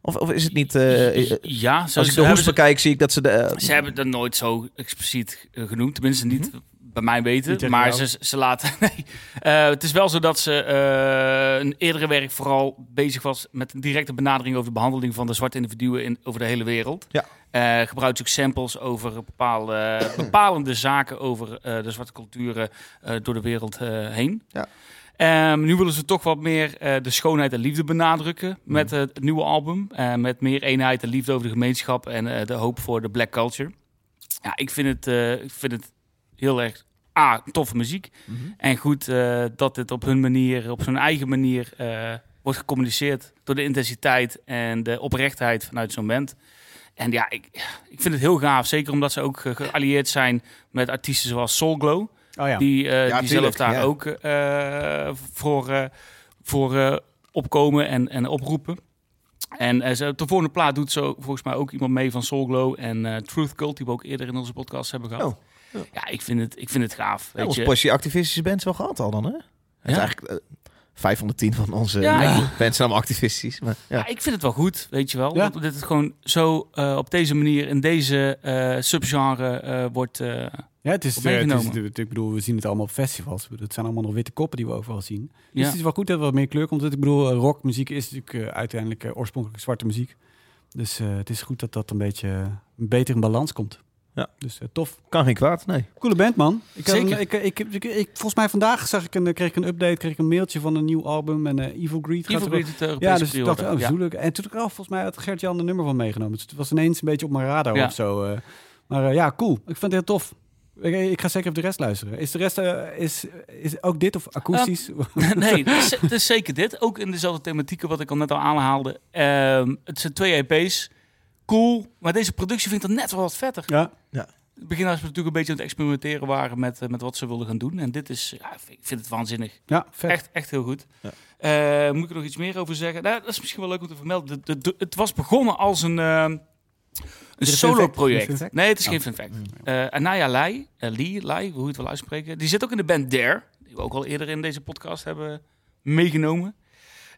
Speaker 3: Of, of is het niet... eh, eh,
Speaker 2: ja, zo
Speaker 3: als ik de hoes
Speaker 2: hebben ze,
Speaker 3: bekijk, zie ik dat ze de... eh,
Speaker 2: ze hebben dat nooit zo expliciet eh, genoemd. Tenminste niet
Speaker 3: Mhm.
Speaker 2: bij mij
Speaker 1: Niet
Speaker 2: weten.
Speaker 1: tegen
Speaker 2: Maar
Speaker 1: jou.
Speaker 2: ze, ze laten... Nee. Eh, het is wel zo dat ze eh een eerdere werk vooral bezig was met een directe benadering over de behandeling van de zwarte individuen in, over de hele wereld.
Speaker 3: Ja.
Speaker 2: Eh, gebruikt ze ook samples over bepaalde, bepalende zaken over eh, de zwarte culturen eh, door de wereld eh, heen.
Speaker 3: Ja.
Speaker 2: Ehm, nu willen ze toch wat meer eh, de schoonheid en liefde benadrukken
Speaker 1: Mm.
Speaker 2: met eh, het nieuwe album. Eh, met meer eenheid en liefde over de gemeenschap en eh, de hoop voor de black culture. Ja, ik vind het, eh, ik vind het heel erg A, toffe muziek. En goed eh, dat dit op hun manier, op zijn eigen manier, eh, wordt gecommuniceerd door de intensiteit en de oprechtheid vanuit zo'n band. En ja, ik, ik vind het heel gaaf. Zeker omdat ze ook eh, geallieerd zijn met artiesten zoals Soul Glow.
Speaker 1: Oh ja.
Speaker 2: Die, eh,
Speaker 3: Ja,
Speaker 2: die
Speaker 3: tuurlijk,
Speaker 2: zelf daar
Speaker 3: ja.
Speaker 2: ook eh, voor, eh, voor eh, opkomen en, en oproepen. En eh, ze, op de volgende plaat doet zo volgens mij ook iemand mee van Soul Glow en eh, Truth Cult, die we ook eerder in onze podcast hebben gehad.
Speaker 3: Oh, ja.
Speaker 2: ja. ik vind het, ik vind het gaaf.
Speaker 3: Ja,
Speaker 2: weet
Speaker 3: onze
Speaker 2: je.
Speaker 3: passie activistische bands wel gehad al dan, hè? Het is eigenlijk eh, 510 van onze
Speaker 2: Ja,
Speaker 3: eh, bands zijn allemaal activistisch. Maar, ja.
Speaker 2: Ja, ik vind het wel goed, weet je wel.
Speaker 1: Ja.
Speaker 2: Dat dit het gewoon zo eh, op deze manier in deze eh, subgenre eh, wordt. eh,
Speaker 1: Ja, het is,
Speaker 2: Op
Speaker 1: eh, het is,
Speaker 2: meegenomen.
Speaker 1: het- ik bedoel, we zien het allemaal op festivals. Het zijn allemaal nog witte koppen die we overal zien. Dus
Speaker 2: ja.
Speaker 1: het is wel goed dat er wat meer kleur komt. Want Ik bedoel, eh, rockmuziek is natuurlijk eh, uiteindelijk eh, oorspronkelijk zwarte muziek. Dus eh, het is goed dat dat een beetje eh, beter in balans komt.
Speaker 3: Ja.
Speaker 1: Dus eh, tof.
Speaker 3: Kan geen kwaad, nee.
Speaker 1: Coole band, man. Ik had
Speaker 2: Zeker.
Speaker 1: Een, ik, ik, ik, ik- volgens mij vandaag zag ik een, eh, kreeg ik een update, kreeg ik een mailtje van een nieuw album. En eh, Evil Greed gaat
Speaker 2: Evil
Speaker 1: er
Speaker 2: Greed, het
Speaker 1: wel-
Speaker 2: Europese
Speaker 1: Ja, dus ik dacht,
Speaker 2: pre-order.
Speaker 1: oh, zo leuk. En toen dacht ik, oh, volgens mij had Gert-Jan een nummer van meegenomen. Dus het was ineens een beetje op mijn radar
Speaker 2: Ja.
Speaker 1: of zo. eh. maar eh, ja, cool. Ik vind het heel tof. Ik, ik ga zeker op de rest luisteren. Is de rest eh, is, is ook dit of akoestisch?
Speaker 2: Ja. nee, het is, het is zeker dit. Ook in dezelfde thematieken wat ik al net al aanhaalde. Ehm, het zijn twee EP's. Cool, maar deze productie vind ik dan net wel wat vetter.
Speaker 1: ja.
Speaker 2: In het begin was we natuurlijk een beetje aan het experimenteren waren met, eh, met wat ze wilden gaan doen. En dit is, ja, ik vind het waanzinnig.
Speaker 1: ja, vet.
Speaker 2: Echt, echt heel goed.
Speaker 3: Ja.
Speaker 2: Eh, moet ik er nog iets meer over zeggen? Nou, dat is misschien wel leuk om te vermelden. De- de- de- het was begonnen als een, eh,
Speaker 1: het
Speaker 2: een
Speaker 1: een fact? Is het een
Speaker 2: solo-project.
Speaker 1: fact?
Speaker 2: Nee, het is
Speaker 1: Oh.
Speaker 2: geen fun fact. Eh, Anaya Lai, eh, Lee, Lai, hoe je het wil uitspreken. Die zit ook in de band Dare. Die we ook al eerder in deze podcast hebben meegenomen.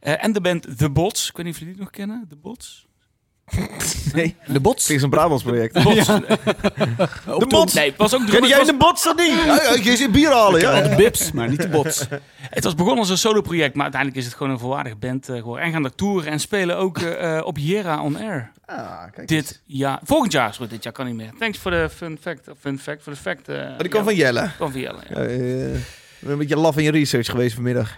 Speaker 2: Eh, en de band The Bots. Ik weet niet of jullie die nog kennen. The Bots?
Speaker 3: Nee,
Speaker 1: De bots?
Speaker 3: is een Brabants project.
Speaker 2: Bots.
Speaker 3: De bots!
Speaker 2: Nee, het was ook
Speaker 3: Ken
Speaker 2: het
Speaker 3: jij
Speaker 2: was,
Speaker 3: de bots dan niet? Ja, ja, je zit bier halen, ja.
Speaker 1: De bips, maar niet de bots.
Speaker 2: het was begonnen als een solo-project, maar uiteindelijk is het gewoon een volwaardige band eh, geworden. En gaan er toeren en spelen ook eh, eh, op Hiera on Air.
Speaker 3: Ah, kijk eens.
Speaker 2: Dit jaar, volgend jaar, sorry, dit jaar kan niet meer. Thanks voor de fun fact, of fun fact, voor de fact. eh,
Speaker 3: Maar Oh, die kwam van Jelle.
Speaker 2: kwam van Jelle, ja.
Speaker 3: Ja, eh, een beetje laf in je research geweest vanmiddag.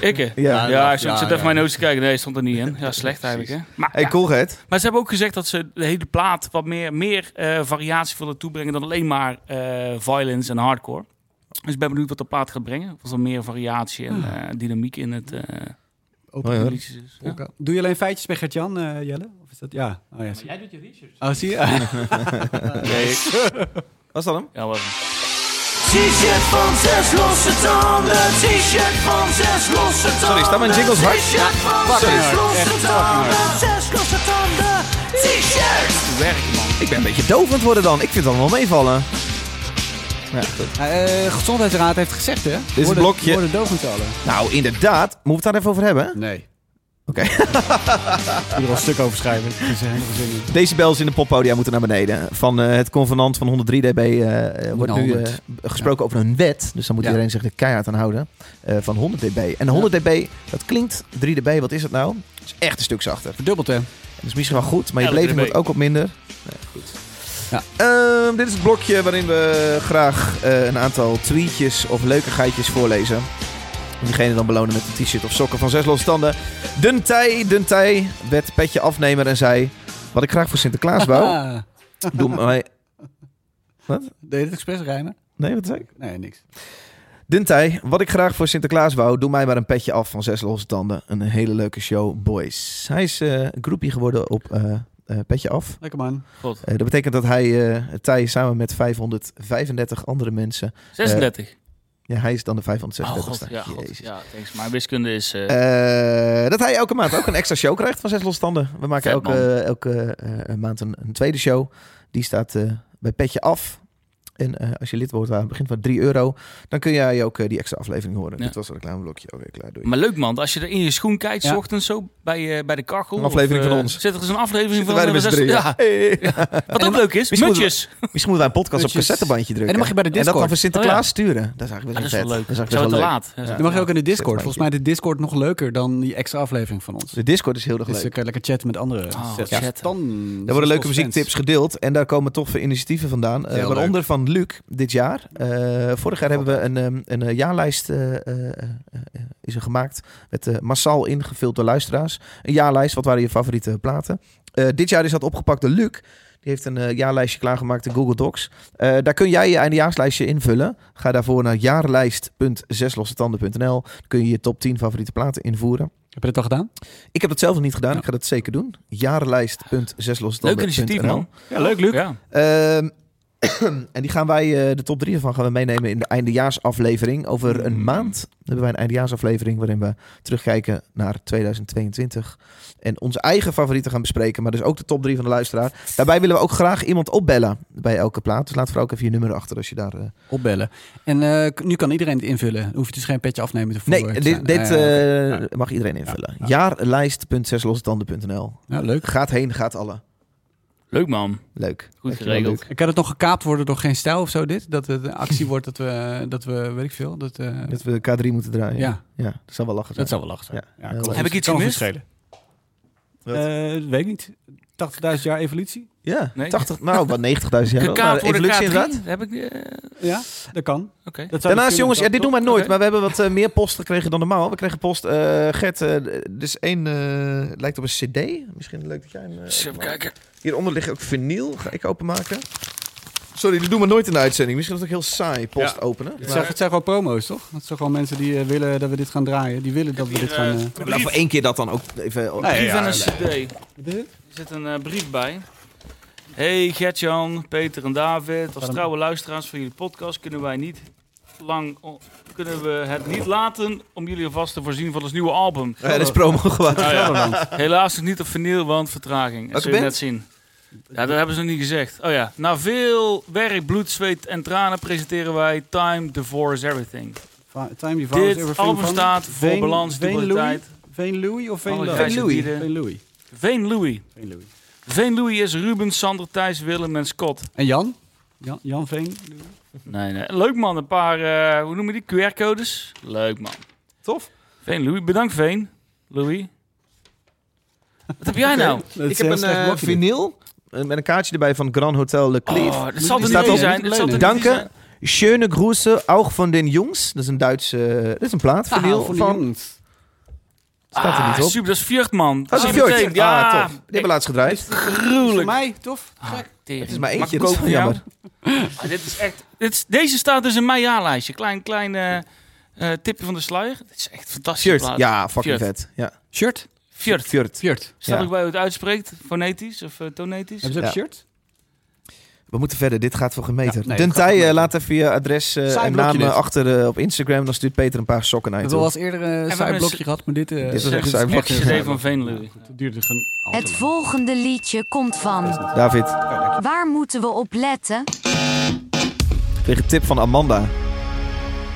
Speaker 2: Ik, hè?
Speaker 3: Ja.
Speaker 2: Ja, ik zit
Speaker 1: ja,
Speaker 2: even
Speaker 1: ja.
Speaker 2: mijn notes te kijken. Nee, stond er niet in. Ja, slecht eigenlijk, hè? Maar,
Speaker 3: Hey,
Speaker 2: ja.
Speaker 3: cool, Gert.
Speaker 2: maar ze hebben ook gezegd dat ze de hele plaat wat meer, meer eh, variatie willen toebrengen dan alleen maar eh, violence en hardcore. Dus ik ben benieuwd wat de plaat gaat brengen. Of er meer variatie en eh, dynamiek in het eh
Speaker 3: Mooi, hoor.
Speaker 2: liedjes is. Ja.
Speaker 1: Polka. Doe je alleen feitjes bij Gert-Jan, eh, Jelle? Of is dat... Ja. Oh, ja. zie-
Speaker 7: Jij doet je research.
Speaker 1: Oh, zie je?
Speaker 3: Was dat hem?
Speaker 2: Ja, wel even.
Speaker 6: T-shirt van zes losse tanden. T-shirt van zes losse tanden.
Speaker 3: Sorry, staan mijn jingles hard?
Speaker 6: T-shirt van
Speaker 1: Fucking
Speaker 6: zes
Speaker 1: hard,
Speaker 6: losse
Speaker 1: echt fucking
Speaker 6: tanden. Zes losse tanden. T-shirt.
Speaker 2: Werk, man.
Speaker 3: Ik ben een beetje doof aan het worden dan. Ik vind het allemaal meevallen. Ja, goed.
Speaker 1: Eh, gezondheidsraad heeft gezegd, hè? Dit
Speaker 3: is een blokje.
Speaker 1: Worden doof met z'n allen.
Speaker 3: Nou, inderdaad. Moeten we het daar even over hebben?
Speaker 1: Nee.
Speaker 3: Oké.
Speaker 1: Ik wil er een stuk over schrijven. Ik heb er helemaal geen zin in.
Speaker 3: Decibels in de poppodia moeten naar beneden. Van eh, het convenant van 103 dB eh, eh, wordt nu eh,
Speaker 1: 100.
Speaker 3: gesproken over een wet. Dus dan moet
Speaker 1: Ja.
Speaker 3: iedereen zich er keihard aan houden. eh, van 100 dB. En 100 dB, dat klinkt 3 dB, wat is dat nou? Dat is echt een stuk zachter.
Speaker 1: Verdubbeld, hè?
Speaker 3: Dat is misschien wel goed, maar je
Speaker 2: 11
Speaker 3: beleving
Speaker 2: dB.
Speaker 3: wordt ook wat minder. Nee, goed.
Speaker 1: Ja.
Speaker 3: Ehm, dit is het blokje waarin we graag eh, een aantal tweetjes of leukigheidjes voorlezen. En diegene dan belonen met een t-shirt of sokken van zes losse tanden. Duntij, Duntij werd petje afnemer en zei... Wat ik graag voor Sinterklaas wou,
Speaker 1: Ah.
Speaker 3: doe mij...
Speaker 1: Deed je het expres rijmen?
Speaker 3: Nee, wat zei ik?
Speaker 1: Nee, niks.
Speaker 3: Duntij, wat ik graag voor Sinterklaas wou, doe mij maar een petje af van zes losse tanden. Een hele leuke show, boys. Hij is eh groepie geworden op eh, eh, Petje Af.
Speaker 1: Lekker man.
Speaker 2: God.
Speaker 3: Eh, dat betekent dat hij eh Thij samen met 535 andere mensen.
Speaker 2: 36.
Speaker 3: Ja, hij is dan de 536ste.
Speaker 2: oh, god. Ja, god.
Speaker 3: Eh, Jezus.
Speaker 2: Ja, thanks. Mijn wiskunde is... eh,
Speaker 3: Eh, dat hij elke maand ook een extra show krijgt van zes losstanden. We maken
Speaker 2: Vet,
Speaker 3: elke, elke eh, maand een, een tweede show. Die staat eh, bij Petje Af. En eh, als je lid wordt aan het begin van 3 euro, dan kun jij ook eh, die extra aflevering horen.
Speaker 2: Ja.
Speaker 3: Dit was een reclameblokje. Oké, klaar. Doei.
Speaker 2: Maar leuk man, als je er in je schoen kijkt, s
Speaker 1: Ja.
Speaker 2: ochtends zo bij, eh, bij de kachel.
Speaker 3: Een aflevering
Speaker 2: of, eh,
Speaker 3: van ons.
Speaker 2: Zit er eens een aflevering van
Speaker 3: Zitten wij er
Speaker 2: eh,
Speaker 3: met z'n
Speaker 2: zes-
Speaker 3: drieën?
Speaker 2: ja.
Speaker 3: Hey.
Speaker 2: Wat ook leuk is,
Speaker 3: Misschien
Speaker 2: mutjes.
Speaker 3: Misschien moeten wij een podcast op
Speaker 1: Puntjes.
Speaker 3: cassettebandje drukken.
Speaker 1: En dan mag je bij de
Speaker 3: En dat dan
Speaker 1: Discord.
Speaker 3: voor Sinterklaas sturen. Dat
Speaker 2: Ah,
Speaker 3: is eigenlijk
Speaker 2: dat is
Speaker 3: best
Speaker 2: wel leuk.
Speaker 3: vet. Dat is
Speaker 2: Zou
Speaker 3: eigenlijk best
Speaker 2: het te
Speaker 3: wel leuk.
Speaker 2: laat? Ja.
Speaker 1: Dan mag je ook in de Discord.
Speaker 3: Zet
Speaker 1: Volgens mij is de Discord nog leuker dan die extra aflevering van ons.
Speaker 3: De Discord is heel erg
Speaker 1: Dus
Speaker 3: leuk.
Speaker 1: dan kan je lekker chatten met anderen.
Speaker 2: Oh,
Speaker 1: Zet-
Speaker 2: chatten.
Speaker 1: Dan-
Speaker 3: Er worden leuke
Speaker 1: Fans.
Speaker 3: muziektips gedeeld en daar komen toffe initiatieven vandaan. Eh,
Speaker 1: Heel leuk.
Speaker 3: waaronder van Luc dit jaar. Eh, vorig jaar hebben we een, ehm, een eh, jaarlijst eh, eh, eh, eh, is er gemaakt. Werd eh, massaal ingevuld door luisteraars. Een jaarlijst, wat waren je favoriete platen? Eh, dit jaar is dat opgepakt door Luc. Die heeft een eh, jaarlijstje klaargemaakt in Google Docs. Eh, daar kun jij je eindejaarslijstje invullen. Ga daarvoor naar jaarlijst.zeslossetanden.nl. Dan kun je je top 10 favoriete platen invoeren.
Speaker 1: Heb je dat al gedaan?
Speaker 3: Ik heb dat zelf nog niet gedaan. Ik ga dat zeker doen. Jaarlijst.zeslossetanden.nl
Speaker 2: Leuk initiatief man.
Speaker 1: Ja, leuk, leuk.
Speaker 2: Ja.
Speaker 3: Ehm, en die gaan wij, eh, de top drie ervan gaan we meenemen in de eindejaarsaflevering. Over
Speaker 1: Mm.
Speaker 3: een maand hebben wij een eindejaarsaflevering waarin we terugkijken naar 2022. En onze eigen favorieten gaan bespreken, maar dus ook de top drie van de luisteraar. Daarbij willen we ook graag iemand opbellen bij elke plaat. Dus laat vooral ook even je nummer achter als je daar... eh,
Speaker 1: Opbellen. En eh, k- nu kan iedereen het invullen. Dan hoef je dus geen petje afnemen te
Speaker 3: Nee,
Speaker 1: voor te zijn.
Speaker 3: dit, dit
Speaker 1: Ah, ja.
Speaker 3: eh, mag iedereen invullen.
Speaker 1: Ja.
Speaker 3: Jaarlijst.zeslossetanden.nl
Speaker 1: Ja, leuk.
Speaker 3: Gaat heen, gaat alle.
Speaker 2: Leuk man.
Speaker 3: Leuk.
Speaker 2: Goed
Speaker 3: Dankjewel,
Speaker 2: geregeld.
Speaker 3: Luc.
Speaker 1: En Kan het nog gekaapt worden door geen stijl of zo dit? Dat het een actie wordt dat we, dat we weet ik veel. Dat, eh,
Speaker 3: Dat we K3 moeten draaien. Ja,
Speaker 1: ja,
Speaker 3: dat zal wel lachen zijn.
Speaker 1: dat zou wel lachen zijn.
Speaker 3: Ja.
Speaker 1: Ja, kan-
Speaker 2: Heb ik iets
Speaker 1: kan
Speaker 2: gemist?
Speaker 1: verschillen.
Speaker 3: Wat?
Speaker 1: Eh, dat weet ik niet. 80.000 jaar evolutie?
Speaker 3: Ja,
Speaker 2: Nee.
Speaker 3: 80, nou, wat 90.000 jaar. Nou,
Speaker 2: Gekaat voor de
Speaker 3: evolutie Eh, inderdaad.
Speaker 2: K3. Heb ik... eh,
Speaker 1: Ja, dat kan.
Speaker 2: Oké.
Speaker 1: Dat zou
Speaker 3: Daarnaast,
Speaker 1: kunnen,
Speaker 3: jongens, ja,
Speaker 1: dat
Speaker 3: dit doen
Speaker 1: toch?
Speaker 3: wij nooit,
Speaker 2: Oké.
Speaker 3: maar we hebben wat eh, meer post gekregen dan normaal. We kregen post, eh Gert, eh, dus één, eh, het lijkt op een cd. Misschien leuk dat jij hem... eh,
Speaker 2: eens Even
Speaker 3: openmaakt.
Speaker 2: kijken.
Speaker 3: Hieronder ligt ook vinyl, ga ik openmaken. Sorry, dit doen we nooit in de uitzending. Misschien is het ook heel saai, post openen.
Speaker 1: Het zijn, het zijn gewoon promo's, toch? Het zijn gewoon mensen die eh, willen dat we dit gaan draaien. Die willen dat we dit gaan... eh,
Speaker 3: Laten we één keer dat dan ook even...
Speaker 1: Nee,
Speaker 2: Brief
Speaker 1: ja,
Speaker 2: en een
Speaker 1: nee.
Speaker 2: cd. Er zit een eh, brief bij. Hey Gertjan, Peter en David. Als trouwe luisteraars van jullie podcast kunnen wij niet lang... Kunnen we het niet laten om jullie alvast te voorzien van ons nieuwe album.
Speaker 3: Ja, dat is promo gewoon.
Speaker 2: Nou ja. Helaas nog niet op vinyl, want vertraging. Dat
Speaker 3: Welke
Speaker 2: zul je
Speaker 3: band?
Speaker 2: net zien. Ja, dat hebben ze nog niet gezegd. Oh ja, na veel werk, bloed, zweet en tranen presenteren wij Time Divorce Everything.
Speaker 1: Va- Time Devours,
Speaker 2: Dit
Speaker 1: Everything
Speaker 2: album
Speaker 1: van
Speaker 2: staat voor
Speaker 1: Veen-
Speaker 2: balans,
Speaker 1: Veen
Speaker 2: dualiteit,
Speaker 1: Veen Louis of Veen
Speaker 2: Alle
Speaker 1: Love?
Speaker 2: grijze
Speaker 1: Louis.
Speaker 2: bieden.
Speaker 1: Veen Louis.
Speaker 2: Veen Louis.
Speaker 1: Veen Louis.
Speaker 2: Veen Louis is Ruben, Sander, Thijs, Willem en Scott.
Speaker 1: En Jan? Jan, Jan Veen?
Speaker 2: Nee, nee. Leuk man, een paar, eh, hoe noemen die, QR-codes? Leuk man.
Speaker 3: Tof.
Speaker 2: Veen Louis, bedankt Veen. Louis. Wat heb jij nou?
Speaker 3: Ik heb een eh, vinyl eh, met een kaartje erbij van Grand Hotel Le Clef.
Speaker 2: Oh, dat zal er
Speaker 1: staat
Speaker 2: niet in
Speaker 1: op-
Speaker 2: zijn. Dat zal er niet in zijn.
Speaker 3: Danke. Schöne Grüße, auch von den Jungs. Dat is een Duitse... eh, dat is een plaat, vinyl
Speaker 1: van,
Speaker 3: van... Staat er
Speaker 2: Ah,
Speaker 3: niet op.
Speaker 2: super, dat is Fjord, man.
Speaker 3: Dat is
Speaker 2: Zie
Speaker 3: een
Speaker 2: je
Speaker 3: fjordje.
Speaker 2: meteen. Ja,
Speaker 3: Oh, Ah, tof. Die hebben we laatst gedraaid.
Speaker 1: Voor
Speaker 2: gruwelijk.
Speaker 1: mij, tof? Gek.
Speaker 2: Het
Speaker 3: is maar eentje, dat is wel
Speaker 2: Ah, dit is echt, dit is- deze staat dus in mijn jaarlijstje. Klein, klein eh, eh, tipje van de sluier. Dit is echt fantastisch.
Speaker 3: Fjord. Ja, fucking vet. Ja.
Speaker 1: Shirt?
Speaker 2: Fjord.
Speaker 3: Fjord.
Speaker 1: Shirt.
Speaker 2: Staat
Speaker 3: Ja.
Speaker 2: ook bij hoe het uitspreekt? Fonetisch of eh, tonetisch?
Speaker 1: Hebben ze ook
Speaker 3: Ja.
Speaker 1: shirt?
Speaker 3: We moeten verder, dit gaat voor
Speaker 1: Ja,
Speaker 3: gemeter.
Speaker 1: nee, dat gaat
Speaker 3: Dentij,
Speaker 1: voor
Speaker 3: eh,
Speaker 1: geen
Speaker 3: laat even je adres eh,
Speaker 1: Saai
Speaker 3: en naam
Speaker 1: blokje
Speaker 3: eh,
Speaker 1: dit.
Speaker 3: achter eh, op Instagram. Dan stuurt Peter een paar sokken naar je
Speaker 1: We
Speaker 3: toe.
Speaker 1: hebben al eens eerder een saaiblokje
Speaker 2: een-
Speaker 1: gehad, maar dit... eh
Speaker 3: Dit is
Speaker 2: Zeg,
Speaker 3: echt
Speaker 2: dit
Speaker 3: zuiver.
Speaker 2: echt geschreven van Veenlui.
Speaker 1: Het duurde gewoon al
Speaker 5: Het
Speaker 1: te
Speaker 5: volgende liedje komt van.
Speaker 3: David,
Speaker 5: Waar moeten we op letten?
Speaker 3: kreeg een tip van Amanda.
Speaker 1: lang.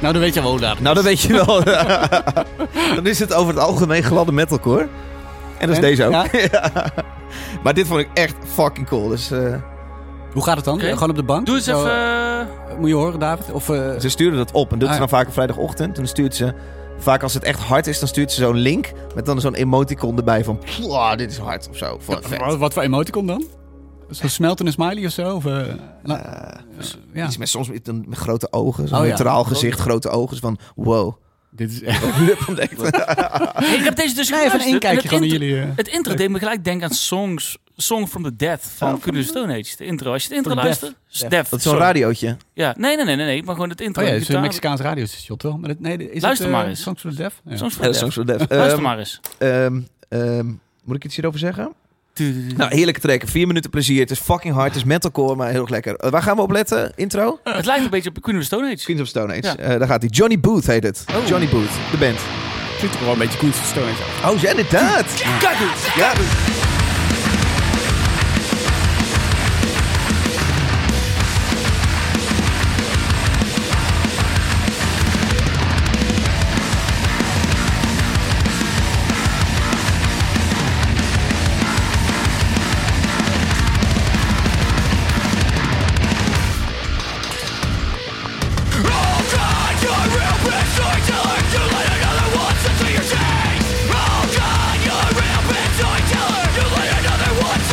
Speaker 1: Nou, dan weet je wel hoe laat.
Speaker 3: Nou, dat weet je wel. dan is het over het algemeen gladde metalcore. En dat is
Speaker 1: En?
Speaker 3: deze ook.
Speaker 1: Ja.
Speaker 3: Ja. maar dit vond ik echt fucking cool. Dus, eh,
Speaker 1: Hoe gaat het dan?
Speaker 2: Oké.
Speaker 1: Eh, Gewoon op de bank?
Speaker 2: Doe eens
Speaker 1: Zo,
Speaker 3: Nou,
Speaker 2: even...
Speaker 1: eh, Moet je horen, David? Of... eh,
Speaker 3: ze stuurden dat op. En doet
Speaker 1: Ah,
Speaker 3: ze
Speaker 1: ja.
Speaker 3: dan vaak op vrijdagochtend. En dan stuurt ze... Vaak als het echt hard is, dan stuurt ze zo'n link. Met dan zo'n emoticon erbij van... "Pwa, dit is hard of zo. Vond ik vet.
Speaker 1: wat, wat voor emoticon dan? Zo'n smeltende smiley of zo? Of, eh, nou,
Speaker 3: Eh,
Speaker 1: ja.
Speaker 3: Iets met soms met, een, met grote ogen. Zo'n
Speaker 1: Oh, ja.
Speaker 3: neutraal gezicht, grote ogen. Zo Van wow.
Speaker 1: Dit is echt...
Speaker 2: hey, ik heb deze dus
Speaker 1: Nee, even een
Speaker 2: geluisterd.
Speaker 1: inkijkje
Speaker 2: en
Speaker 1: gewoon in
Speaker 2: het, intro,
Speaker 1: jullie... eh,
Speaker 2: het intro deed me gelijk denken aan songs... Song from the Dead van
Speaker 3: Oh.
Speaker 2: Queen of the Stone Age. De intro. Als je het intro
Speaker 1: From
Speaker 2: luistert... is
Speaker 1: Death.
Speaker 2: Death,
Speaker 3: Dat is zo'n
Speaker 2: sorry.
Speaker 3: radiootje.
Speaker 2: Ja, nee, nee, nee, nee, nee, maar gewoon het intro.
Speaker 1: Oh ja,
Speaker 2: en
Speaker 1: het is een
Speaker 2: gitaar.
Speaker 1: Mexicaans radiostation, toch? Maar dat, nee, is
Speaker 2: Luister
Speaker 1: het, eh,
Speaker 2: maar eens.
Speaker 1: Songs for the Deaf? Ja.
Speaker 2: Soms
Speaker 3: Ja,
Speaker 2: voor
Speaker 3: Songs for Deaf.
Speaker 2: Luister
Speaker 3: Ehm,
Speaker 2: maar eens.
Speaker 3: ehm, ehm, moet ik iets hierover zeggen? Nou, heerlijke track. Vier minuten plezier. Het is fucking hard. Het is metalcore, maar heel erg lekker. Eh, waar gaan we op letten? Intro?
Speaker 2: Het lijkt een beetje op Queen of the Stone Age.
Speaker 3: Queens of Stone Age.
Speaker 2: Ja.
Speaker 3: Eh, daar gaat hij. Johnny Booth heet het.
Speaker 1: Oh.
Speaker 3: Johnny Booth, de band.
Speaker 1: Klinkt ook wel een beetje Queen's Stone Age.
Speaker 3: Oh, ja, inderdaad.
Speaker 2: Kijk eens!
Speaker 3: Ja.
Speaker 6: You're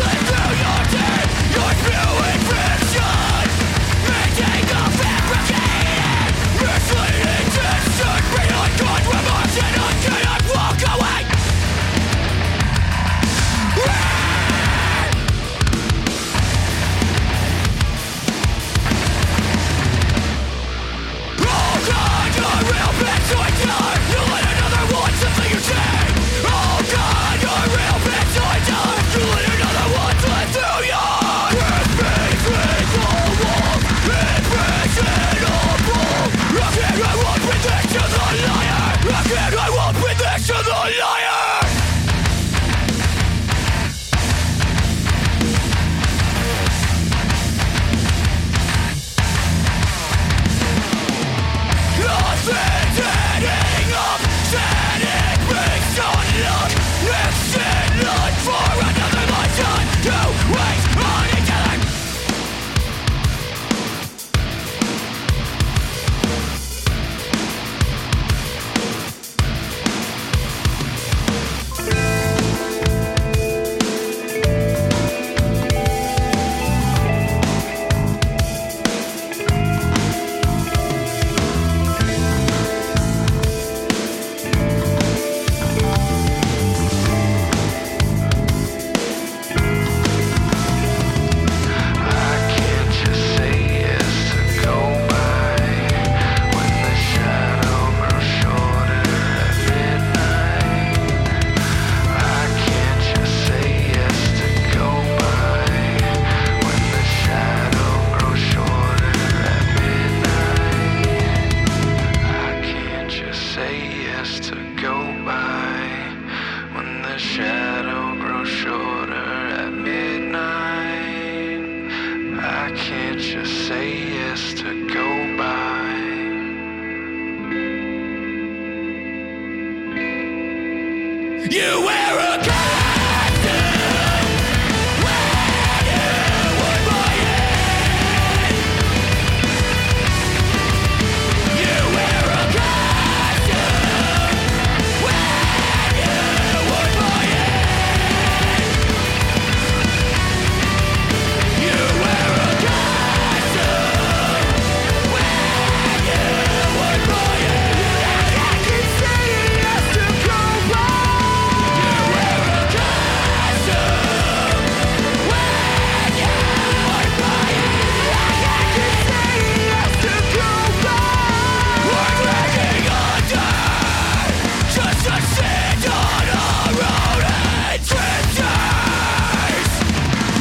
Speaker 6: Oh!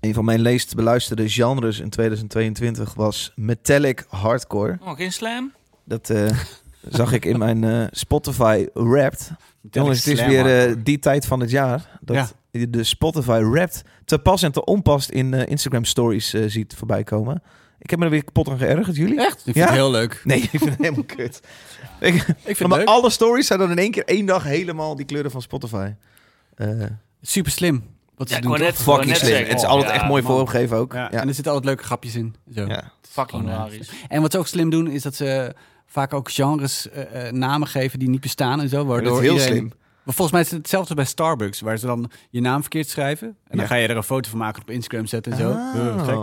Speaker 3: Een van mijn leest beluisterde genres in 2022 was metallic hardcore.
Speaker 2: Oh, geen slam?
Speaker 3: Dat eh, zag ik in mijn eh, Spotify Wrapped. Jongens, het is
Speaker 1: Slam,
Speaker 3: weer
Speaker 1: man.
Speaker 3: eh, die tijd van het jaar dat de Spotify Wrapped te pas en te onpas in eh, Instagram stories eh, ziet voorbij komen. Ik heb me er weer kapot aan geërgerd, jullie?
Speaker 1: Echt? Ik vind
Speaker 3: Ja?
Speaker 1: het heel leuk.
Speaker 3: Nee, ik vind het helemaal kut. Ik,
Speaker 1: Ik vind het
Speaker 3: maar
Speaker 1: leuk.
Speaker 3: alle stories zijn dan in één keer één dag helemaal die kleuren van Spotify. Eh,
Speaker 1: Super slim. Wat ze
Speaker 2: Ja, ik
Speaker 1: doen,
Speaker 2: wou
Speaker 1: toch?
Speaker 2: net- wou
Speaker 3: fucking
Speaker 2: net
Speaker 3: slim.
Speaker 2: zeggen.
Speaker 3: het is altijd
Speaker 2: Ja,
Speaker 3: echt mooi
Speaker 1: man.
Speaker 3: vormgeven ook.
Speaker 1: Ja,
Speaker 3: Ja.
Speaker 1: En er zitten altijd leuke grapjes in. Zo.
Speaker 3: Ja.
Speaker 2: Fucking
Speaker 1: Gewoon, eh,
Speaker 2: hilarisch.
Speaker 1: En wat ze ook slim doen, is dat ze vaak ook genres eh, eh, namen geven die niet bestaan en zo. Waardoor
Speaker 3: Dat is heel
Speaker 1: iedereen-
Speaker 3: slim.
Speaker 1: Maar volgens mij is het hetzelfde bij Starbucks, waar ze dan je naam verkeerd schrijven. En dan
Speaker 3: Ja.
Speaker 1: ga je er een foto van maken op Instagram zetten en zo.
Speaker 3: Ah.
Speaker 1: Huh, gek.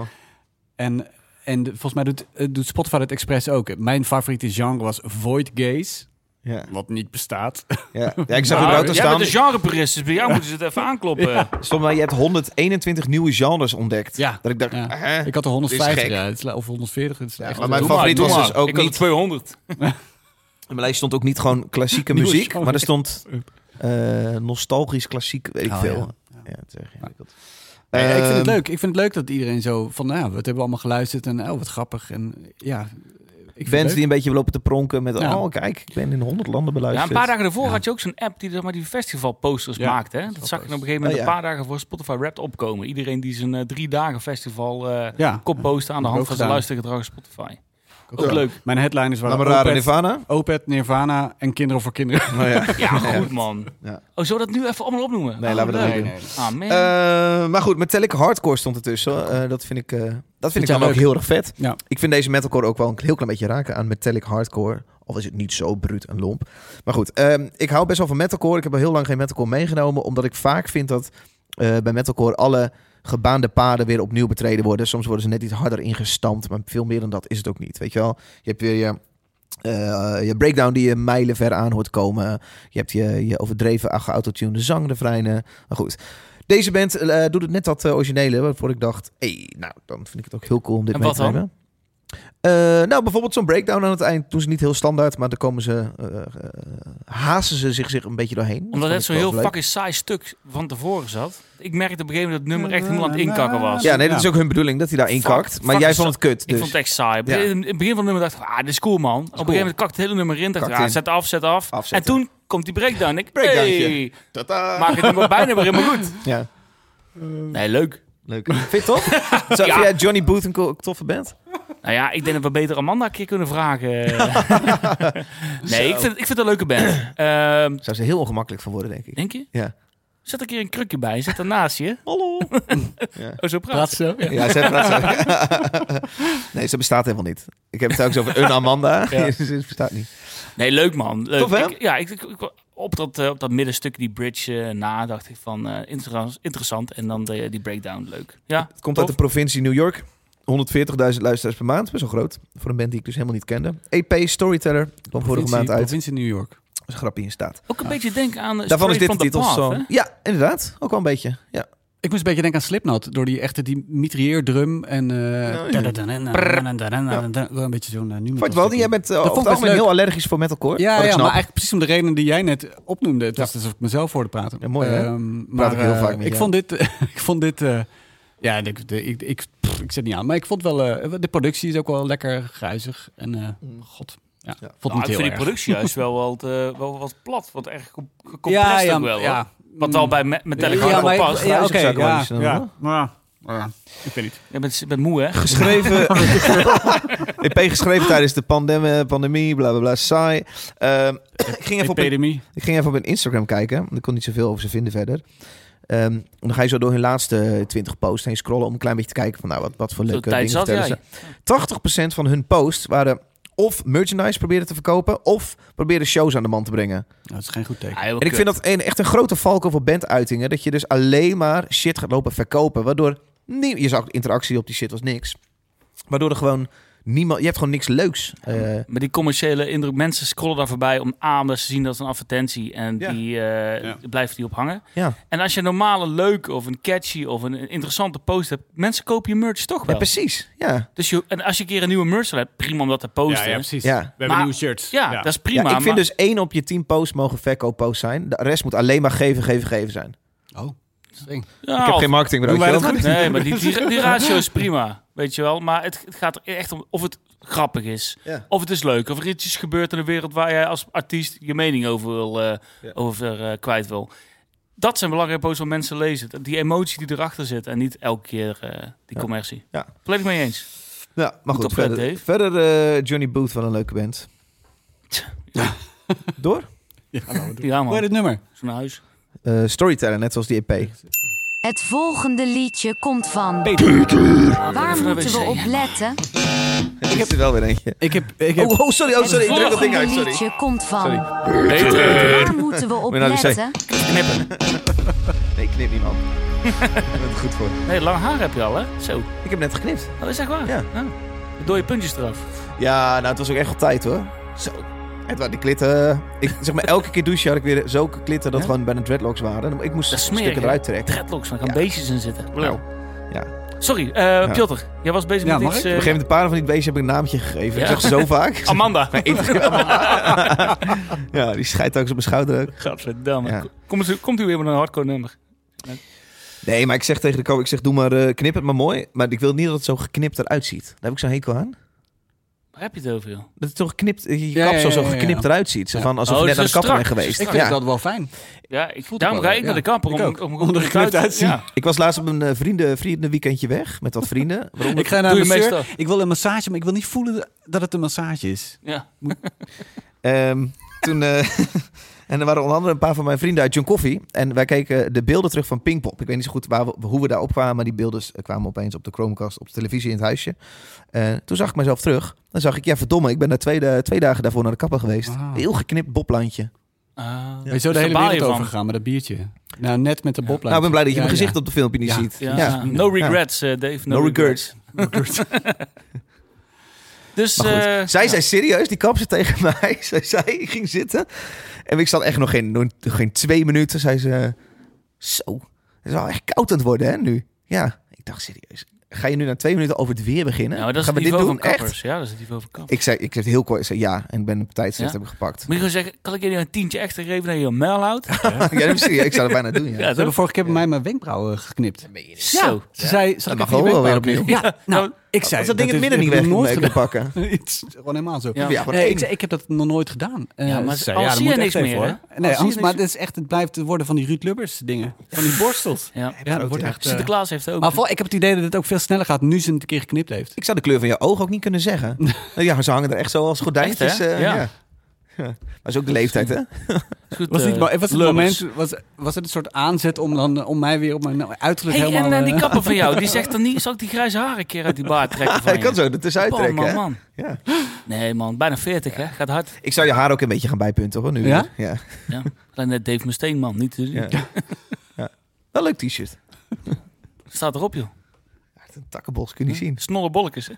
Speaker 1: En, en de- volgens mij doet, eh, doet Spotify dat expres ook. Mijn favoriete genre was Void Gaze,
Speaker 3: Ja.
Speaker 1: wat niet bestaat.
Speaker 3: Ja. ja, ik zag in de
Speaker 2: Nou,
Speaker 3: auto
Speaker 2: Jij bent
Speaker 3: staan.
Speaker 2: een genrepurist, dus bij jou moeten ze het even aankloppen.
Speaker 3: Stond maar, je hebt 121 nieuwe genres ontdekt.
Speaker 1: Ja.
Speaker 3: Dat ik dacht,
Speaker 1: Ja.
Speaker 3: hè?
Speaker 1: Ik had er
Speaker 3: Dit is
Speaker 1: 150
Speaker 3: gek.
Speaker 1: ja, het is la- of 140. Het is echt
Speaker 3: maar mijn
Speaker 2: Doe
Speaker 3: favoriet
Speaker 2: doe
Speaker 3: was dus ook
Speaker 2: ik had er
Speaker 3: niet-
Speaker 2: 200.
Speaker 3: in mijn lijst stond ook niet gewoon klassieke
Speaker 1: Nieuwe
Speaker 3: muziek,
Speaker 1: genre.
Speaker 3: maar er stond eh, nostalgisch klassiek, weet ik
Speaker 1: Oh,
Speaker 3: veel.
Speaker 1: ja.
Speaker 3: Ja, het is echt ingewikkeld.
Speaker 1: Nee, ik vind het
Speaker 3: Ehm,
Speaker 1: leuk. Ik vind het leuk dat iedereen zo van, nou, ja, wat hebben we allemaal geluisterd en oh, wat grappig. En ja, ik vind het
Speaker 3: Bands
Speaker 1: leuk.
Speaker 3: die een beetje lopen te pronken met,
Speaker 1: Ja.
Speaker 3: oh kijk, ik ben in 100 landen
Speaker 2: Ja,
Speaker 3: beluisterd.
Speaker 2: een paar dagen daarvoor had je ook zo'n app die zeg maar, die festivalposters
Speaker 1: Ja,
Speaker 2: maakte. Hè? Dat zag ik op een gegeven moment
Speaker 3: Oh, ja.
Speaker 2: een paar dagen voor Spotify Wrapped opkomen. Iedereen die zijn eh, drie dagen festival eh
Speaker 1: Ja.
Speaker 2: koppost aan
Speaker 1: heb
Speaker 2: de
Speaker 1: ik
Speaker 2: hand
Speaker 1: ook
Speaker 2: van zijn
Speaker 1: gedaan.
Speaker 2: luistergedrag op Spotify.
Speaker 1: Ook
Speaker 2: Ook
Speaker 1: leuk.
Speaker 2: leuk.
Speaker 1: Mijn headliners waren
Speaker 3: Lamarade
Speaker 1: Opeth,
Speaker 3: Nirvana.
Speaker 1: Opeth, Nirvana en Kinderen voor Kinderen.
Speaker 3: Oh, ja.
Speaker 2: Ja, goed man.
Speaker 3: Ja.
Speaker 2: Oh, zullen we dat nu even allemaal opnoemen?
Speaker 3: Nee,
Speaker 2: Oh,
Speaker 3: laten we dat
Speaker 2: leuk.
Speaker 3: niet doen.
Speaker 2: Ah, man.
Speaker 3: Eh, maar goed, Metallic Hardcore stond ertussen. Eh, dat vind ik, eh, dat vind
Speaker 1: Vind
Speaker 3: ik dan
Speaker 1: jij
Speaker 3: ook
Speaker 1: leuk?
Speaker 3: heel erg vet.
Speaker 1: Ja.
Speaker 3: Ik vind deze metalcore ook wel een heel klein beetje raken aan Metallic Hardcore. Al is het niet zo bruut en lomp. Maar goed, ehm, ik hou best wel van metalcore. Ik heb al heel lang geen metalcore meegenomen. Omdat ik vaak vind dat eh, bij metalcore alle gebaande paden weer opnieuw betreden worden. Soms worden ze net iets harder ingestampt. Maar veel meer dan dat is het ook niet. Weet je wel? Je hebt weer je... eh, je breakdown die je mijlenver aan hoort komen. Je hebt je, je overdreven geautotunede zangrefreinen. Maar Nou, goed, deze band eh, doet het net dat eh, originele, waarvoor ik dacht, hey, nou, dan vind ik het ook heel cool om dit
Speaker 2: En
Speaker 3: mee
Speaker 2: wat
Speaker 3: te nemen. Eh, nou, bijvoorbeeld zo'n breakdown aan het eind doen ze niet heel standaard, maar dan komen ze, eh eh, haasten ze zich, zich een beetje doorheen. Dat
Speaker 2: Omdat
Speaker 3: vond
Speaker 2: het
Speaker 3: ik
Speaker 2: zo'n
Speaker 3: wel
Speaker 2: heel
Speaker 3: leuk.
Speaker 2: fucking saai stuk van tevoren zat. Ik merkte op een gegeven moment dat het nummer echt helemaal aan het inkakken was.
Speaker 3: Ja, nee, dat is ook hun bedoeling, dat hij daarin
Speaker 2: Fuck,
Speaker 3: kakt. Maar
Speaker 2: fuck
Speaker 3: jij
Speaker 2: is
Speaker 3: vond het kut,
Speaker 2: Ik
Speaker 3: dus.
Speaker 2: vond het echt saai.
Speaker 3: Ja.
Speaker 2: In het begin van het nummer dacht ik, ah, dit is cool man. Op een gegeven moment kakt het hele nummer in. Dacht ik,
Speaker 3: Kakt
Speaker 2: ah,
Speaker 3: in.
Speaker 2: zet af, zet af.
Speaker 3: Afzetten.
Speaker 2: En toen komt die breakdown. Ik,
Speaker 3: Breakdowntje.
Speaker 2: hey,
Speaker 3: Tada!
Speaker 2: maak het nummer bijna weer helemaal goed.
Speaker 3: Ja,
Speaker 2: Nee, leuk.
Speaker 3: leuk. Vind je het tof? Zou
Speaker 2: Ja.
Speaker 3: vind jij Johnny Booth een co- toffe band?
Speaker 2: Nou ja, ik denk dat we beter Amanda een keer kunnen vragen. nee, ik vind, ik vind het een leuke band. Ehm,
Speaker 3: Zou ze heel ongemakkelijk van worden, denk ik.
Speaker 2: denk je?
Speaker 3: Ja.
Speaker 2: Zet een keer een krukje bij. Zet daarnaast je.
Speaker 3: Hallo!
Speaker 2: Oh, zo praat.
Speaker 1: Praat zo. Ja.
Speaker 3: Ja, ze praat zo. nee, ze bestaat helemaal niet. Ik heb het ook over een Amanda.
Speaker 2: Ja.
Speaker 3: ze bestaat niet.
Speaker 2: Nee, leuk man. Leuk.
Speaker 3: Tof, hè?
Speaker 2: Ik- ja, ik, ik- ik- op, dat, eh, op dat middenstuk, die bridge eh, na, dacht ik van eh, interess- interessant. En dan de- die breakdown, leuk. Ja,
Speaker 3: Het komt
Speaker 2: tof.
Speaker 3: uit de provincie New York. 140.000 luisteraars per maand. Best wel groot. Voor een band die ik dus helemaal niet kende. EP Storyteller. Kwam vorige maand uit.
Speaker 1: Provincie New York.
Speaker 3: Als grapje in staat.
Speaker 2: Ook een beetje denken aan eh,
Speaker 3: Ah. Daarvan is dit de
Speaker 2: Straight from the Path,
Speaker 3: titelsong.
Speaker 2: hè?
Speaker 3: Ja, inderdaad. Ook wel een beetje. Ja.
Speaker 1: Ik moest een beetje denken aan Slipknot. Door die echte die mitrieerdrum en... eh, Wel Een beetje zo'n eh, nu metal
Speaker 3: Fart Walden,
Speaker 1: stukje.
Speaker 3: jij bent eh,
Speaker 1: vond
Speaker 3: over
Speaker 1: ik best
Speaker 3: het algemeen
Speaker 1: leuk.
Speaker 3: heel allergisch voor metalcore.
Speaker 1: Ja, ja
Speaker 3: Wat ik
Speaker 1: maar
Speaker 3: Oh, snap.
Speaker 1: eigenlijk precies om de reden die jij net opnoemde. Het was alsof ik mezelf hoorde praten.
Speaker 3: Ja, mooi, hè?
Speaker 1: Ehm,
Speaker 3: Praat ik heel
Speaker 1: eh,
Speaker 3: vaak met
Speaker 1: ik
Speaker 3: jou.
Speaker 1: vond dit, ik vond dit eh, ja, ik, de- ik, ik, pff, ik zet niet aan. Maar ik vond wel, eh, de productie is ook wel lekker gruizig. En eh, god, ja,
Speaker 3: Ja.
Speaker 1: vond
Speaker 2: Nou,
Speaker 1: het
Speaker 2: ik
Speaker 1: niet
Speaker 2: vind
Speaker 1: heel
Speaker 2: die
Speaker 1: erg.
Speaker 2: productie juist wel wat, eh, wel wat plat. Wat erg gecom- gecompressed
Speaker 1: ja, ja,
Speaker 2: ook wel. hoor.
Speaker 1: ja.
Speaker 2: Wat wel bij me- Metallica
Speaker 1: ja,
Speaker 2: hardcore
Speaker 1: maar-
Speaker 2: past.
Speaker 1: Ja,
Speaker 3: Gruizig
Speaker 1: oké,
Speaker 3: zou ik wel
Speaker 1: ja,
Speaker 3: niet noemen, hoor.
Speaker 1: ja, ja, ja, ik weet niet.
Speaker 2: Je bent, je bent moe, hè?
Speaker 3: geschreven. EP geschreven tijdens de pandem- pandemie, bla bla bla, saai. Ehm, ik, ging even
Speaker 1: E
Speaker 3: op hun,
Speaker 1: Epidemie.
Speaker 3: ik ging even op hun Instagram kijken. Ik kon niet zoveel over ze vinden verder. Ehm, dan ga je zo door hun laatste 20 posts heen scrollen om een klein beetje te kijken van nou, wat, wat voor
Speaker 2: Zo'n
Speaker 3: leuke dingen
Speaker 2: tijd zat
Speaker 3: vertellen ze.
Speaker 2: jij.
Speaker 3: 80% van hun posts waren of merchandise proberen te verkopen of proberen shows aan de man te brengen.
Speaker 1: Dat is geen goed teken.
Speaker 2: Ah, joh,
Speaker 3: En ik
Speaker 2: kut.
Speaker 3: vind dat een, echt een grote valk over banduitingen. Dat je dus alleen maar shit gaat lopen verkopen. Waardoor nie- je zag interactie op die shit was niks. Waardoor er gewoon niemand. Je hebt gewoon niks leuks. Eh,
Speaker 2: Maar die commerciële indruk, mensen scrollen daar voorbij om A, omdat ze zien dat is een advertentie en
Speaker 3: Ja.
Speaker 2: die eh,
Speaker 1: Ja.
Speaker 2: blijft die op hangen.
Speaker 3: ja.
Speaker 2: En als je een normale leuk of een catchy of een interessante post hebt, mensen kopen je merch toch
Speaker 3: ja,
Speaker 2: wel.
Speaker 3: precies. Ja.
Speaker 2: dus je, en als je een keer een nieuwe merch al hebt, prima om dat te posten. Ja,
Speaker 1: precies.
Speaker 3: Ja.
Speaker 1: hebben
Speaker 2: Maar-
Speaker 1: shirts.
Speaker 2: dat is
Speaker 3: Ja,
Speaker 2: prima.
Speaker 3: ik vind
Speaker 2: maar-
Speaker 3: dus één op je tien posts mogen verkoopposts zijn. De rest moet alleen maar geven, geven, geven zijn.
Speaker 1: Oh, Eng.
Speaker 2: Ja,
Speaker 3: Ik heb
Speaker 2: of-
Speaker 3: geen marketing,
Speaker 1: Doen
Speaker 3: weet
Speaker 1: wij
Speaker 3: je wel.
Speaker 1: dat goed?
Speaker 2: Nee, maar die, die, die ratio is prima, weet je wel. Maar het, het gaat er echt om of het grappig is,
Speaker 3: Ja.
Speaker 2: of het is leuk, of er iets is gebeurd in de wereld waar jij als artiest je mening over, wil, eh,
Speaker 3: Ja.
Speaker 2: over eh, kwijt wil. Dat zijn belangrijke posts waar mensen lezen. Dat- Die emotie die erachter zit en niet elke keer eh, die
Speaker 3: Ja.
Speaker 2: commercie.
Speaker 3: Ja.
Speaker 2: Volledig mee eens.
Speaker 3: Ja,
Speaker 2: Goed
Speaker 3: maar goed.
Speaker 2: opgelet,
Speaker 3: Verder,
Speaker 2: Dave.
Speaker 3: verder eh, Johnny Booth, wel een leuke band. Door?
Speaker 2: Ja
Speaker 1: Hoe heet
Speaker 2: man,
Speaker 1: het nummer?
Speaker 2: zo'n huis.
Speaker 3: Eh storyteller, net zoals die EP.
Speaker 5: Het volgende liedje komt van. Waar
Speaker 2: Even naar
Speaker 5: moeten we
Speaker 2: wc,
Speaker 5: op
Speaker 2: ja.
Speaker 5: letten?
Speaker 3: ik heb er wel weer eentje.
Speaker 1: Ik heb, ik heb
Speaker 3: Oh, oh, sorry, oh, sorry. Ik druk dat ding
Speaker 5: volgende
Speaker 3: uit, sorry.
Speaker 5: liedje komt
Speaker 3: Sorry.
Speaker 5: van. Waar moeten we op
Speaker 3: Moet je naar de wc?
Speaker 5: letten?
Speaker 2: Knippen.
Speaker 3: Nee, ik knip niet, man. Ik ben er goed voor.
Speaker 2: Nee, lang haar heb je al hè? Zo,
Speaker 3: Ik heb net geknipt.
Speaker 2: dat is echt waar.
Speaker 3: Ja.
Speaker 2: Ja. Door je puntjes eraf.
Speaker 3: Ja, nou, het was ook echt op tijd, hoor. Zo. Edward, die klitten. Ik, zeg maar, elke keer douchen had ik weer zulke klitten dat
Speaker 2: Ja?
Speaker 3: gewoon bijna dreadlocks waren. Ik moest
Speaker 2: Dat is smerig,
Speaker 3: stukken
Speaker 2: hè?
Speaker 3: eruit trekken.
Speaker 2: Dreadlocks, daar gaan
Speaker 3: Ja.
Speaker 2: beestjes in zitten.
Speaker 3: Nou, ja.
Speaker 2: Sorry, eh Piotr, jij was bezig
Speaker 1: Ja,
Speaker 2: met
Speaker 1: mag
Speaker 2: iets...
Speaker 1: ik?
Speaker 2: eh,
Speaker 3: Op een gegeven moment, een paar van die beestjes heb ik een naampje gegeven.
Speaker 2: Ja.
Speaker 3: Ik zag ze zo vaak.
Speaker 2: Amanda.
Speaker 3: ja, die scheidt ook op mijn schouder ook.
Speaker 2: Gadverdamme.
Speaker 3: Ja.
Speaker 2: Kom eens, komt u weer met een hardcore nummer?
Speaker 3: Nee, maar ik zeg tegen de koop, ik zeg doe maar, eh, knip het maar mooi. Maar ik wil niet dat het zo geknipt eruit ziet. Daar heb ik zo'n hekel aan.
Speaker 2: Waar heb je het over, joh?
Speaker 3: Dat het zo geknipt, je
Speaker 1: Ja,
Speaker 3: kapsel
Speaker 1: ja, ja,
Speaker 3: zo
Speaker 1: ja.
Speaker 3: geknipt eruit ziet. Zo
Speaker 1: Ja.
Speaker 3: van alsof
Speaker 2: Oh,
Speaker 3: je net
Speaker 2: dat
Speaker 3: aan de
Speaker 2: is
Speaker 3: kapper bent
Speaker 2: strak.
Speaker 3: geweest.
Speaker 1: ik vind
Speaker 3: ja.
Speaker 1: dat wel fijn.
Speaker 2: Ja, ik,
Speaker 1: Voelt
Speaker 2: daarom
Speaker 1: ook wel
Speaker 2: ga ik
Speaker 1: leuk,
Speaker 2: naar de
Speaker 1: ja.
Speaker 2: kapper. Om,
Speaker 1: Ik
Speaker 2: om,
Speaker 1: ook.
Speaker 2: om-
Speaker 1: Om er geknipt uit te zien.
Speaker 2: Ja.
Speaker 3: ik was laatst op een eh, vrienden, vriendenweekendje weg met wat vrienden. Waarom?
Speaker 1: Ik ga naar
Speaker 2: Doe
Speaker 1: een
Speaker 2: je
Speaker 1: masseur.
Speaker 2: meestal. Ah.
Speaker 1: Ik wil een massage, maar ik wil niet voelen dat het een massage is.
Speaker 2: Ja.
Speaker 3: Ehm, toen, eh, en er waren onder andere een paar van mijn vrienden uit John Coffee. En wij keken de beelden terug van Pinkpop. Ik weet niet zo goed waar we, hoe we daar op kwamen. Maar die beelden eh, kwamen opeens op de Chromecast, op de televisie in het huisje. Eh, toen zag ik mezelf terug. Dan zag ik, ja verdomme, ik ben daar twee, da- twee dagen daarvoor naar de kapper geweest.
Speaker 1: Wauw.
Speaker 3: Heel geknipt boplandje.
Speaker 2: Ah.
Speaker 1: Ben je zo de
Speaker 2: Dus
Speaker 1: hele
Speaker 2: daar baal je
Speaker 1: wereld
Speaker 2: van.
Speaker 1: overgegaan met dat biertje? Nou, net met de
Speaker 2: Ja.
Speaker 1: boblijn.
Speaker 3: Nou, ik ben blij dat je
Speaker 1: Ja,
Speaker 3: mijn gezicht
Speaker 1: ja.
Speaker 3: op de filmpje niet
Speaker 1: Ja.
Speaker 3: ziet.
Speaker 2: Ja.
Speaker 3: Ja.
Speaker 2: No regrets, eh, Dave. No,
Speaker 3: No
Speaker 2: regrets. Dus,
Speaker 3: Maar goed,
Speaker 2: eh,
Speaker 3: zij
Speaker 2: ja.
Speaker 3: zei serieus, die kapster tegen mij. Zij zei, ik ging zitten. En ik zat echt nog geen, nog geen twee minuten. Zei ze, zo, het is wel echt koud aan het worden hè, nu. Ja, ik dacht serieus. Ga je nu na twee minuten over het weer beginnen?
Speaker 2: Ja, maar Nou, dat is het
Speaker 3: Gaan we dit
Speaker 2: niveau
Speaker 3: doen?
Speaker 2: van
Speaker 3: Echt?
Speaker 2: kappers. Ja, dat is het niveau van kappers.
Speaker 3: Ik zei, ik zei het heel kort, ik zei ja. En ik ben op tijd
Speaker 2: Ja?
Speaker 3: hebben gepakt.
Speaker 2: Moet je gewoon zeggen, kan ik jullie een tientje extra geven dat je een mijl houdt?
Speaker 3: ja, nee, serieus, ik zou het bijna doen, ja.
Speaker 1: Ze hebben vorige keer bij mij mijn wenkbrauwen geknipt.
Speaker 2: Zo.
Speaker 1: Ze zei, zal
Speaker 3: Dat
Speaker 1: ik
Speaker 3: mag
Speaker 1: even je
Speaker 3: ook wel weer
Speaker 1: wenkbrauwen
Speaker 3: opnieuw.
Speaker 1: knippen? Ja, nou, ik zei...
Speaker 3: Als dat ding in het midden
Speaker 1: is- heb ik
Speaker 3: niet weg
Speaker 1: nog nooit
Speaker 3: kunnen pakken.
Speaker 1: gedaan. Het is gewoon helemaal zo.
Speaker 2: Ja.
Speaker 3: Ja, gewoon
Speaker 1: Nee,
Speaker 3: één.
Speaker 1: ik, zei, ik heb dat nog nooit gedaan. Eh,
Speaker 2: Ja, maar
Speaker 1: ze zei,
Speaker 2: als
Speaker 1: dat
Speaker 2: zie je
Speaker 1: moet
Speaker 2: niks
Speaker 1: echt
Speaker 2: meer,
Speaker 1: hoor.
Speaker 2: hè? Als zie
Speaker 1: Nee,
Speaker 2: je
Speaker 1: anders,
Speaker 2: niks-
Speaker 1: maar het, is echt, het blijft worden van die Ruud Lubbers dingen. Van die borstels.
Speaker 2: Ja.
Speaker 1: Ja, dat wordt echt... eh,
Speaker 2: Sinterklaas heeft ook.
Speaker 1: maar vooral, ik heb het idee dat het ook veel sneller gaat nu ze het een keer geknipt heeft.
Speaker 3: Ik zou de kleur van je oog ook niet kunnen zeggen. ja, maar ze hangen er echt zo als gordijntjes.
Speaker 2: Echt, hè?
Speaker 3: eh,
Speaker 2: Ja.
Speaker 3: ja. Ja. Maar is ook de leeftijd, hè?
Speaker 2: Goed,
Speaker 1: Was,
Speaker 2: eh,
Speaker 1: niet, maar was, het
Speaker 2: Lubbers.
Speaker 1: moment, was, was het een soort aanzet om, dan, eh, om mij weer op mijn nou, uiterlijk
Speaker 2: Hey,
Speaker 1: helemaal...
Speaker 2: en eh, die
Speaker 1: eh,
Speaker 2: kapper van jou, die zegt dan niet, zal ik die grijze haren een keer uit die baard trekken van
Speaker 3: Hij kan
Speaker 2: je?
Speaker 3: zo er tussenuit
Speaker 2: Oh,
Speaker 3: trekken,
Speaker 2: man,
Speaker 3: hè?
Speaker 2: man.
Speaker 3: Ja.
Speaker 2: Nee man, bijna 40 hè, gaat hard.
Speaker 3: Ik zou je haar ook een beetje gaan bijpunten, hoor, nu.
Speaker 1: Ja?
Speaker 3: ja.
Speaker 2: Ja. Alleen net Dave Mustaine man, niet te doen.
Speaker 3: Ja. Ja. Wel een leuk t-shirt.
Speaker 2: Staat erop joh.
Speaker 3: Echt Een takkenbos kun je niet zien.
Speaker 2: Snolle bolletjes hè.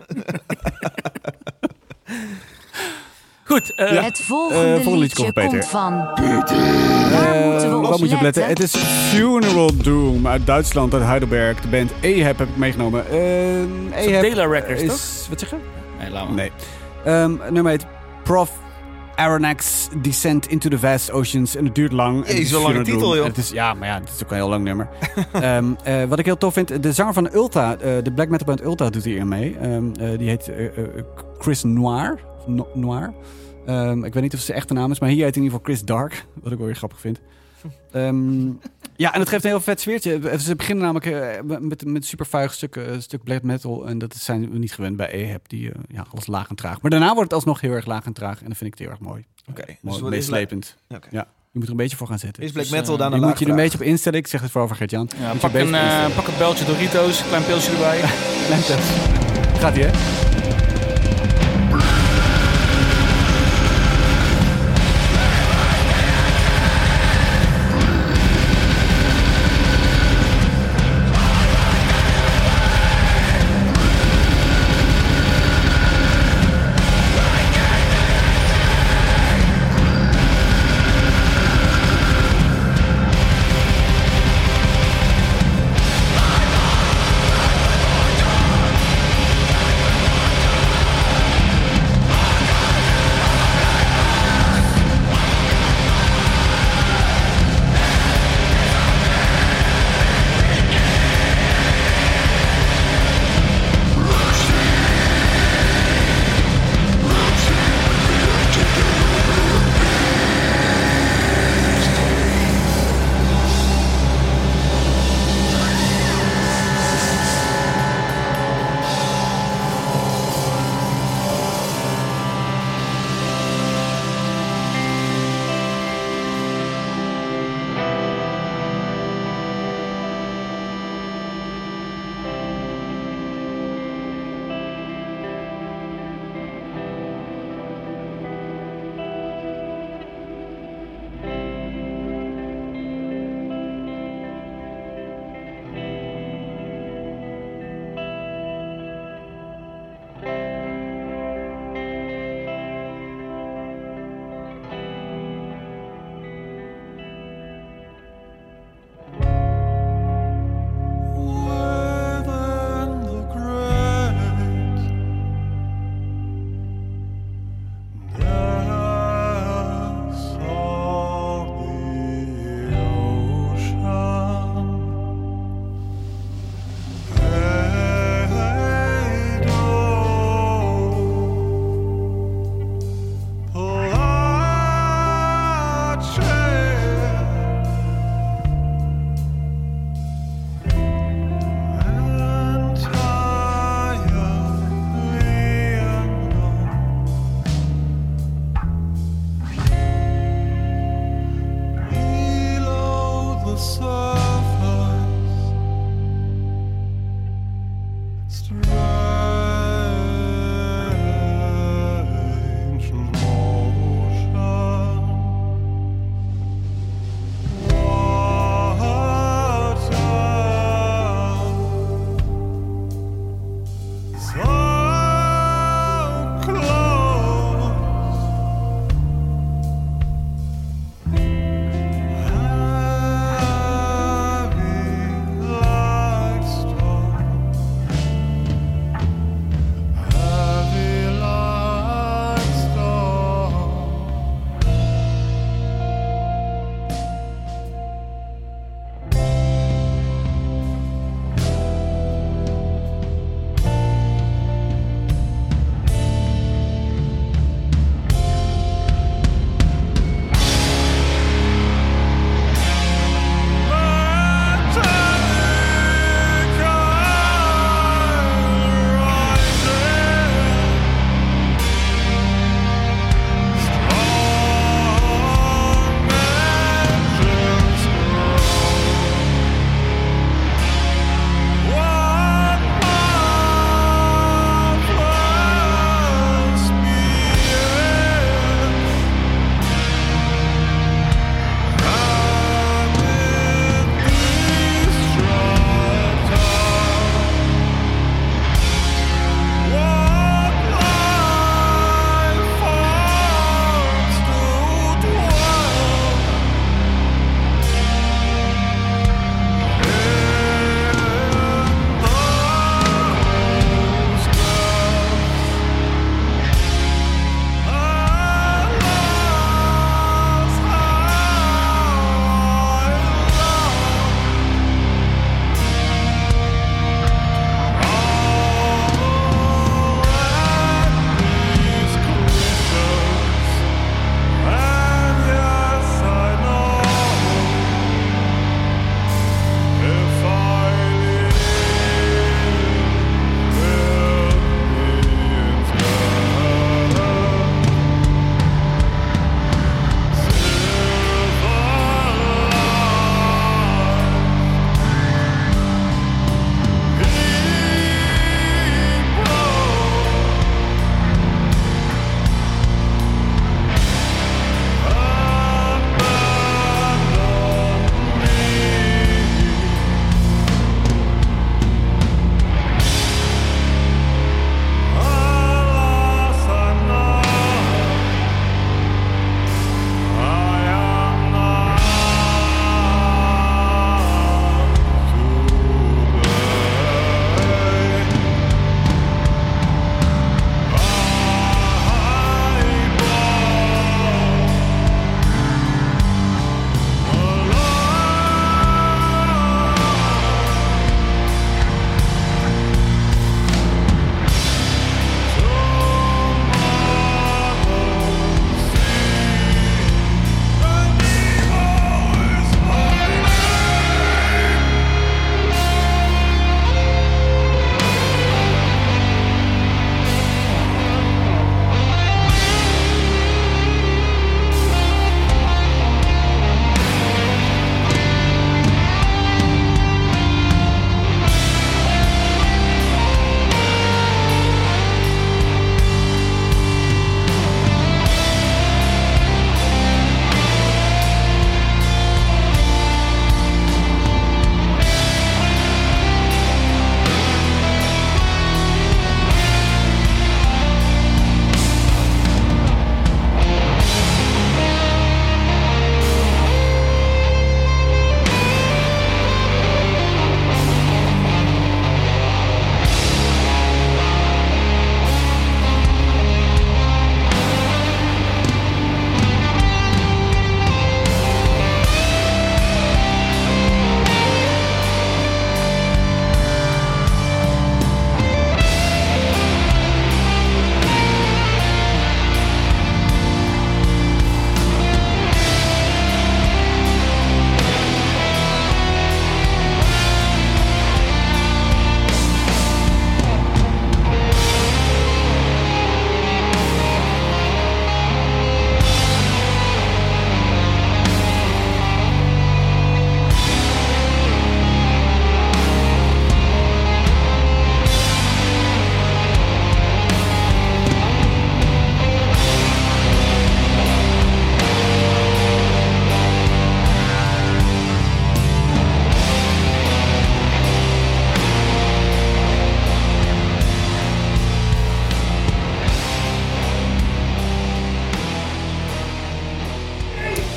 Speaker 2: Goed, eh,
Speaker 5: Het volgende
Speaker 1: volgende liedje
Speaker 5: liedje
Speaker 1: komt Peter.
Speaker 5: komt van. Waar moeten we
Speaker 1: Eh,
Speaker 5: op
Speaker 1: Wat moet je op letten?
Speaker 5: letten?
Speaker 1: Het is Funeral Doom uit Duitsland, uit Heidelberg. De band Ahab heb ik meegenomen. Ehm
Speaker 2: is op
Speaker 1: Ahab
Speaker 2: eh, Dela Records toch?
Speaker 1: is... Wat zeg je?
Speaker 2: Nee, laat maar.
Speaker 1: Nee. Ehm, het nummer heet Prof Aronnax Descent into the Vast Oceans. En het duurt lang. En het
Speaker 3: Jezus,
Speaker 1: is
Speaker 3: wel een lange
Speaker 1: Funeral
Speaker 3: titel,
Speaker 1: Doom.
Speaker 3: joh.
Speaker 1: En Het is, ja, maar ja, het is ook een heel lang nummer. Ehm, eh, wat ik heel tof vind, de zanger van Ulta, eh, de black metal band Ulta doet hier mee. Ehm, eh, die heet eh, eh, Chris Noir. No- Noir. Ehm, ik weet niet of ze zijn echte naam is, maar hier heet in ieder geval Chris Dark. Wat ik wel weer grappig vind. Ehm, ja, en het geeft een heel vet sfeertje. Ze beginnen namelijk eh, met, met supervuig stuk, eh, stuk black metal. En dat zijn we niet gewend bij Ehab. Die eh, ja, alles laag en traag. Maar daarna wordt het alsnog heel erg laag en traag. En dat vind ik het heel erg mooi.
Speaker 3: Oké.
Speaker 1: mooi meeslepend.
Speaker 3: Oké.
Speaker 1: Ja, je moet er een beetje voor gaan zitten.
Speaker 3: Is black
Speaker 2: Dus, eh,
Speaker 3: metal dan
Speaker 1: Je
Speaker 3: een
Speaker 1: moet je er een
Speaker 3: laagvraag?
Speaker 1: beetje op instellen. Ik zeg het vooral voor Gert-Jan.
Speaker 2: Ja,
Speaker 1: Moet je
Speaker 2: pak,
Speaker 1: er
Speaker 2: een,
Speaker 1: beter
Speaker 2: eh,
Speaker 1: instellen.
Speaker 2: pak een beltje Doritos, een klein pilsje erbij.
Speaker 1: Klein test. Gaat ie, hè?
Speaker 6: Waar oh.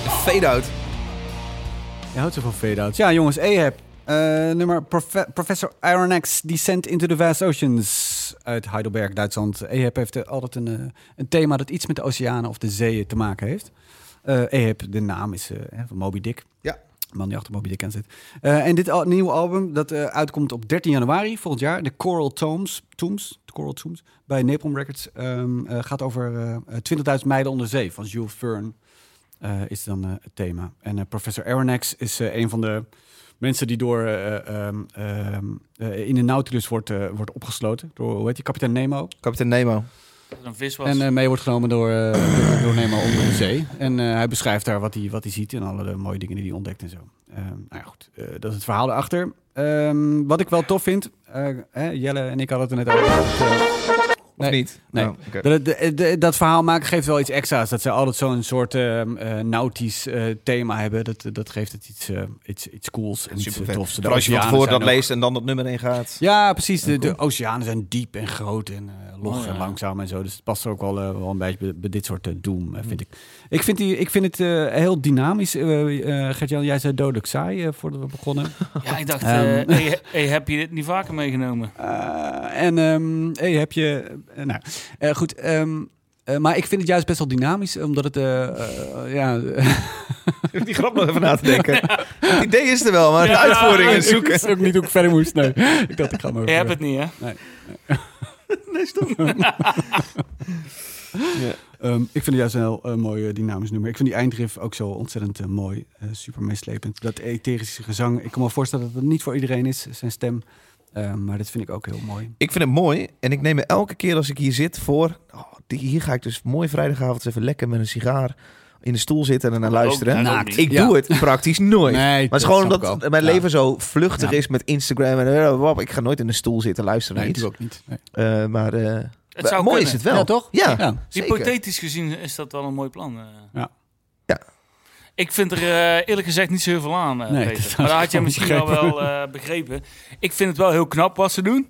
Speaker 3: Fade-out.
Speaker 1: Je houdt zo van fade-outs. Ja, jongens, Ahab. Eh, nummer Profe- Professor Aronnax Descent into the Vast Oceans uit Heidelberg, Duitsland. Ahab heeft eh, altijd een, eh, een thema dat iets met de oceanen of de zeeën te maken heeft. Eh Ahab, de naam is eh, hè, van Moby Dick.
Speaker 3: Ja.
Speaker 1: De Man die achter Moby Dick aan zit. Eh, en dit al- nieuwe album dat eh, uitkomt op 13 januari volgend jaar. De Coral Tombs, Tombs, de Coral Tombs bij Napalm Records. ehm, eh, gaat over eh, eh 20.000 mijlen onder zee van Jules Verne. eh, is dan eh, het thema. En eh, professor Aronnax is eh, een van de mensen die door, eh, ehm, ehm, eh, in de Nautilus wordt, eh, wordt opgesloten. Door, hoe heet die, kapitein Nemo.
Speaker 3: Kapitein Nemo.
Speaker 2: Dat een vis was.
Speaker 1: En eh, mee wordt genomen door, eh, door, door Nemo onder de zee. En eh, hij beschrijft daar wat hij, wat hij ziet en alle de mooie dingen die hij ontdekt en zo. Ehm, nou ja, goed. Eh, dat is het verhaal erachter. Ehm, wat ik wel tof vind, eh, hè, Jelle en ik hadden het er net over. dat, eh, Nee.
Speaker 3: Of niet?
Speaker 1: Nee.
Speaker 3: Oh, oké.
Speaker 1: dat, dat- dat- dat verhaal maken geeft wel iets extra's. Dat ze altijd zo'n soort ehm, eh, nautisch eh, thema hebben. Dat, dat geeft het iets, eh, iets, iets cools en iets
Speaker 3: Super
Speaker 1: eh,
Speaker 3: vet.
Speaker 1: tofs. De
Speaker 3: Vooral Dus als je van
Speaker 1: oceanen
Speaker 3: tevoren
Speaker 1: zijn
Speaker 3: dat
Speaker 1: ook-
Speaker 3: leest en dan dat nummer 1 gaat.
Speaker 1: Ja, precies. De, de oceanen zijn diep en groot en eh, log
Speaker 2: Oh, ja.
Speaker 1: en langzaam en zo. Dus het past ook wel, eh, wel een beetje bij, bij dit soort eh, doom, eh, vind ik. Ik vind, die, ik vind het eh, heel dynamisch. eh eh Gert-Jan, jij zei dodelijk saai eh, voordat we begonnen.
Speaker 2: ja, ik dacht, eh
Speaker 1: Ehm.
Speaker 2: hey, hey, heb je dit niet vaker meegenomen?
Speaker 1: Eh, en ehm, hey, heb je... eh, nou, eh, goed. ehm, eh, maar ik vind het juist best wel dynamisch, omdat het... eh, eh, ja,
Speaker 2: Ah,
Speaker 3: Die grap nog even na te denken. Het idee is er wel, maar de uitvoering is
Speaker 1: ik
Speaker 3: zoeken.
Speaker 1: wist ook niet hoe ik verder moest. Nee, ik dacht, ik ga maar
Speaker 2: ah. Je hebt het niet, hè?
Speaker 1: Ehm, ik vind het juist een heel eh, mooi eh, dynamisch nummer. Ik vind die eindriff ook zo ontzettend eh, mooi. eh, super meeslepend. Dat etherische gezang. Ik kan me voorstellen dat het niet voor iedereen is, zijn stem. Eh, maar dat vind ik ook heel mooi.
Speaker 3: Ik vind het mooi en ik neem me elke keer als ik hier zit voor... Oh, die- hier ga ik dus mooi vrijdagavond even lekker met een sigaar in de stoel zitten en naar luisteren. Nou,
Speaker 2: Ook-
Speaker 1: Naakt.
Speaker 2: ook niet.
Speaker 3: Ik
Speaker 1: Ja.
Speaker 3: doe het praktisch nooit.
Speaker 1: Nee,
Speaker 3: Maar het is gewoon omdat mijn leven zo vluchtig
Speaker 1: Ja.
Speaker 3: is met Instagram en eh, wap, ik ga nooit in de stoel zitten luisteren
Speaker 1: Nee,
Speaker 3: naar iets.
Speaker 1: natuurlijk ook niet. Nee.
Speaker 3: Eh, maar eh,
Speaker 2: Het zou
Speaker 3: mooi is
Speaker 2: kunnen.
Speaker 3: het wel.
Speaker 1: Ja, toch?
Speaker 3: Ja.
Speaker 1: Ja.
Speaker 3: zeker.
Speaker 2: Hypothetisch gezien is dat wel een mooi plan. eh.
Speaker 1: Ja.
Speaker 3: Ja.
Speaker 2: Ik vind er eh, eerlijk gezegd niet zo heel veel aan, eh,
Speaker 1: Nee,
Speaker 2: Peter.
Speaker 1: dat had
Speaker 2: Maar dat
Speaker 1: ik
Speaker 2: had je
Speaker 1: ook
Speaker 2: misschien al
Speaker 1: begrepen.
Speaker 2: wel eh, begrepen. Ik vind het wel heel knap wat ze doen.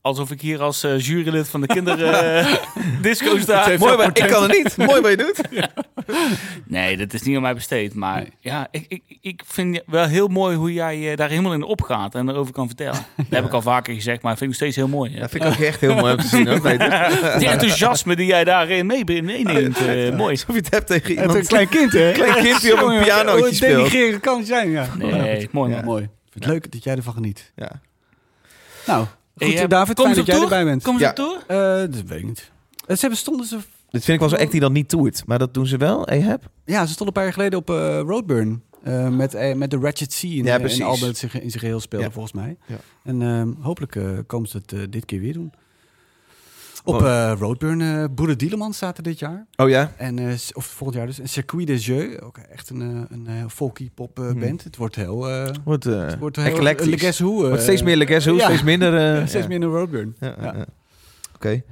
Speaker 2: Alsof ik hier als eh, jurylid van de kinderdisco sta.
Speaker 3: Mooi, maar ik kan het niet. Mooi wat je doet.
Speaker 2: Nee, dat is niet aan mij besteed. Maar
Speaker 1: Nee.
Speaker 2: ja, ik, ik, ik vind het wel heel mooi hoe jij eh, daar helemaal in opgaat en erover kan vertellen. Dat heb ik al vaker gezegd, maar dat vind ik nog steeds heel mooi. hè.
Speaker 3: Dat vind ik ook echt heel mooi om te zien. Hoor, Peter.
Speaker 2: Het enthousiasme die jij daarin mee- meeneemt, eh, mooi.
Speaker 3: Alsof je het hebt tegen
Speaker 1: Het
Speaker 3: iemand.
Speaker 1: is een klein kind, hè?
Speaker 3: Klein kind die op een pianootje
Speaker 1: Hoe
Speaker 3: speelt.
Speaker 1: denigrerend kan het zijn, ja.
Speaker 2: Nee, mooi
Speaker 1: Ja,
Speaker 2: man.
Speaker 1: mooi. Ik vind het leuk dat jij ervan geniet.
Speaker 3: Ja.
Speaker 1: Nou,
Speaker 2: Hey,
Speaker 1: goed,
Speaker 2: eh,
Speaker 1: David,
Speaker 2: kom
Speaker 1: fijn
Speaker 2: ze
Speaker 1: dat
Speaker 2: op
Speaker 1: jij
Speaker 2: tour?
Speaker 1: erbij bent.
Speaker 2: Kom ze
Speaker 3: Ja.
Speaker 2: op door?
Speaker 1: Eh, dat weet ik niet. Eh, Ze hebben stonden ze...
Speaker 3: Dit vind ik wel zo'n act die dan niet toert. Maar dat doen ze wel, Ahab.
Speaker 1: Ja, ze stonden een paar jaar geleden op eh, Roadburn. eh, met, eh, met de Ratchet Sea in,
Speaker 3: Ja,
Speaker 1: eh,
Speaker 3: precies.
Speaker 1: in Albert zich, in zijn geheel speelde,
Speaker 3: Ja.
Speaker 1: volgens mij.
Speaker 3: Ja.
Speaker 1: En ehm, hopelijk eh, komen ze het eh, dit keer weer doen. Op
Speaker 3: Wow.
Speaker 1: eh, Roadburn, eh Boede Dieleman staat er dit jaar.
Speaker 3: Oh ja?
Speaker 1: En, eh, s- of volgend jaar dus. En Circuit des Jeux, ook echt een, eh, een eh, folky pop eh,
Speaker 3: Hmm.
Speaker 1: band. Het wordt heel... eh, het
Speaker 3: Wordt, eh
Speaker 1: wordt heel...
Speaker 3: eclectisch.
Speaker 1: Le Guess Who. eh,
Speaker 3: Wordt steeds meer Legas Hoe,
Speaker 1: ja.
Speaker 3: steeds minder... eh,
Speaker 1: ja, steeds
Speaker 3: ja.
Speaker 1: meer een Roadburn.
Speaker 3: Ja, ja,
Speaker 1: Ja.
Speaker 3: ja. Oké.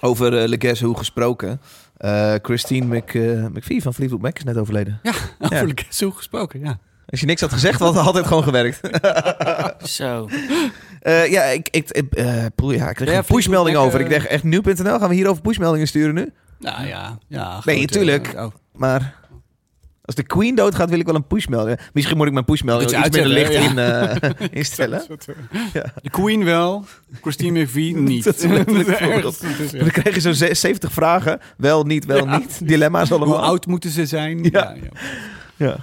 Speaker 3: Over eh, Le Guess Who gesproken. Eh, Christine Mc, eh, McVie van Fleetwood Mac is net overleden. Ja.
Speaker 1: Over Oh, Le Guess Who gesproken, ja.
Speaker 3: Als je niks had gezegd, had het altijd gewoon gewerkt.
Speaker 2: Zo.
Speaker 3: Eh, ja, ik, ik, ik, eh, poeh, ja, ik kreeg
Speaker 1: Ja,
Speaker 3: een
Speaker 1: Fleetwood
Speaker 3: pushmelding
Speaker 1: Mac,
Speaker 3: over. Ik
Speaker 1: eh,
Speaker 3: dacht echt, nu.nl, gaan we hierover pushmeldingen sturen nu?
Speaker 1: Nou ja. ja
Speaker 3: Nee,
Speaker 1: goed, eh,
Speaker 3: tuurlijk.
Speaker 1: oh.
Speaker 3: Maar als de Queen doodgaat, wil ik wel een pushmelding. Misschien moet ik mijn pushmelding
Speaker 1: Dat
Speaker 3: ook
Speaker 1: je
Speaker 3: iets minder licht
Speaker 1: uitzet,
Speaker 3: in, eh, instellen.
Speaker 1: De Queen wel, Christine McVie niet.
Speaker 3: Dat is letterlijk een voorbeeld.
Speaker 1: Ergens
Speaker 3: Dan krijg je zo'n ze- 70 vragen. Wel, niet, wel, niet. Dilemma's allemaal.
Speaker 1: Hoe oud moeten ze zijn?
Speaker 3: Ja. Ja.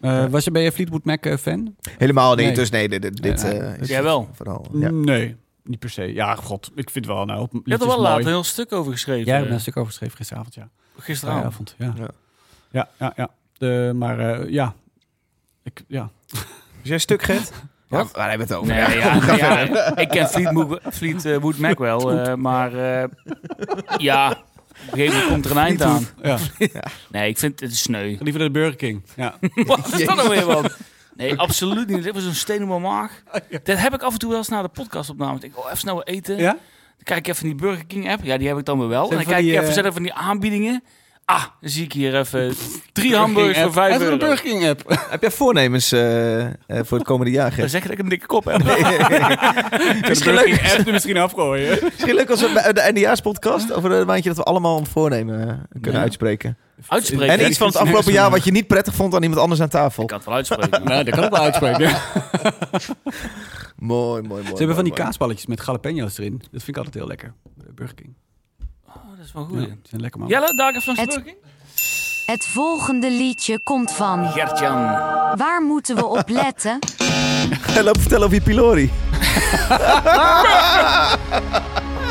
Speaker 1: Eh, was je, ben je Fleetwood Mac eh, fan?
Speaker 3: Helemaal niet.
Speaker 1: Nee.
Speaker 3: Dus nee, dit, dit dit,
Speaker 1: Nee, nee.
Speaker 3: eh, is
Speaker 2: Jij wel?
Speaker 3: Vooral, ja.
Speaker 1: Nee, niet per se. Ja, god, ik vind wel nou.
Speaker 2: Je hebt er wel later een heel stuk over geschreven.
Speaker 1: Jij hebt
Speaker 2: eh,
Speaker 1: daar een stuk over geschreven gisteravond, ja.
Speaker 2: Gisteravond.
Speaker 1: Gisteravond, ja.
Speaker 3: Ja.
Speaker 1: Ja, ja, ja. De, maar eh, ja. Ik, ja.
Speaker 3: Is jij stuk, Gert?
Speaker 2: Wat?
Speaker 3: Ja, waar hebben we het over?
Speaker 2: Nee,
Speaker 3: Ja.
Speaker 2: ja, ja, ik ken Fleetwood, Fleetwood Mac wel, eh, maar eh, ja, op een gegeven moment komt er een eind aan.
Speaker 1: ja.
Speaker 2: Nee, ik vind het is sneu.
Speaker 1: Liever naar de Burger King. Ja.
Speaker 2: Wat is dat nou weer man? Nee, absoluut niet. Dit was een steen in mijn maag.
Speaker 1: Oh,
Speaker 2: Dat heb ik af en toe wel eens na de podcastopname. Ik denk, oh, even snel wat eten.
Speaker 1: ja?
Speaker 2: Dan kijk ik even in die Burger King app. Ja, die heb ik dan weer wel. En
Speaker 1: Zijn
Speaker 2: dan
Speaker 1: van
Speaker 2: kijk
Speaker 1: die,
Speaker 2: ik
Speaker 1: eh,
Speaker 2: even verder van die aanbiedingen. Ah, dan zie ik hier even drie hamburgers voor vijf
Speaker 1: Even een
Speaker 2: euro.
Speaker 1: Burger King app.
Speaker 3: Heb jij voornemens eh, eh, voor het komende jaar,
Speaker 2: Dan
Speaker 3: Gert?
Speaker 2: zeg je dat ik een dikke kop heb.
Speaker 3: Misschien leuk,
Speaker 1: app er misschien afgooien.
Speaker 3: misschien leuk als we bij de eindejaarspodcast over een maandje dat we allemaal een voornemen eh, kunnen
Speaker 1: Ja.
Speaker 3: uitspreken.
Speaker 2: Uitspreken.
Speaker 3: En iets van het afgelopen jaar wat je niet prettig vond aan iemand anders aan tafel.
Speaker 2: Ik kan het wel uitspreken.
Speaker 1: Nou, dat kan ik wel uitspreken.
Speaker 3: Mooi, mooi, mooi.
Speaker 1: Ze hebben van die
Speaker 3: mooi,
Speaker 1: kaasballetjes met jalapeno's erin. Dat vind ik altijd heel lekker. Bij Burger King.
Speaker 2: Oh, dat is wel
Speaker 1: Ja,
Speaker 2: goed.
Speaker 1: die zijn lekker man.
Speaker 2: Jelle, dagen van
Speaker 5: Het- Het volgende liedje komt van.
Speaker 2: Gert-Jan.
Speaker 5: Waar moeten we op letten?
Speaker 3: mooi. Loop vertellen over je pylori.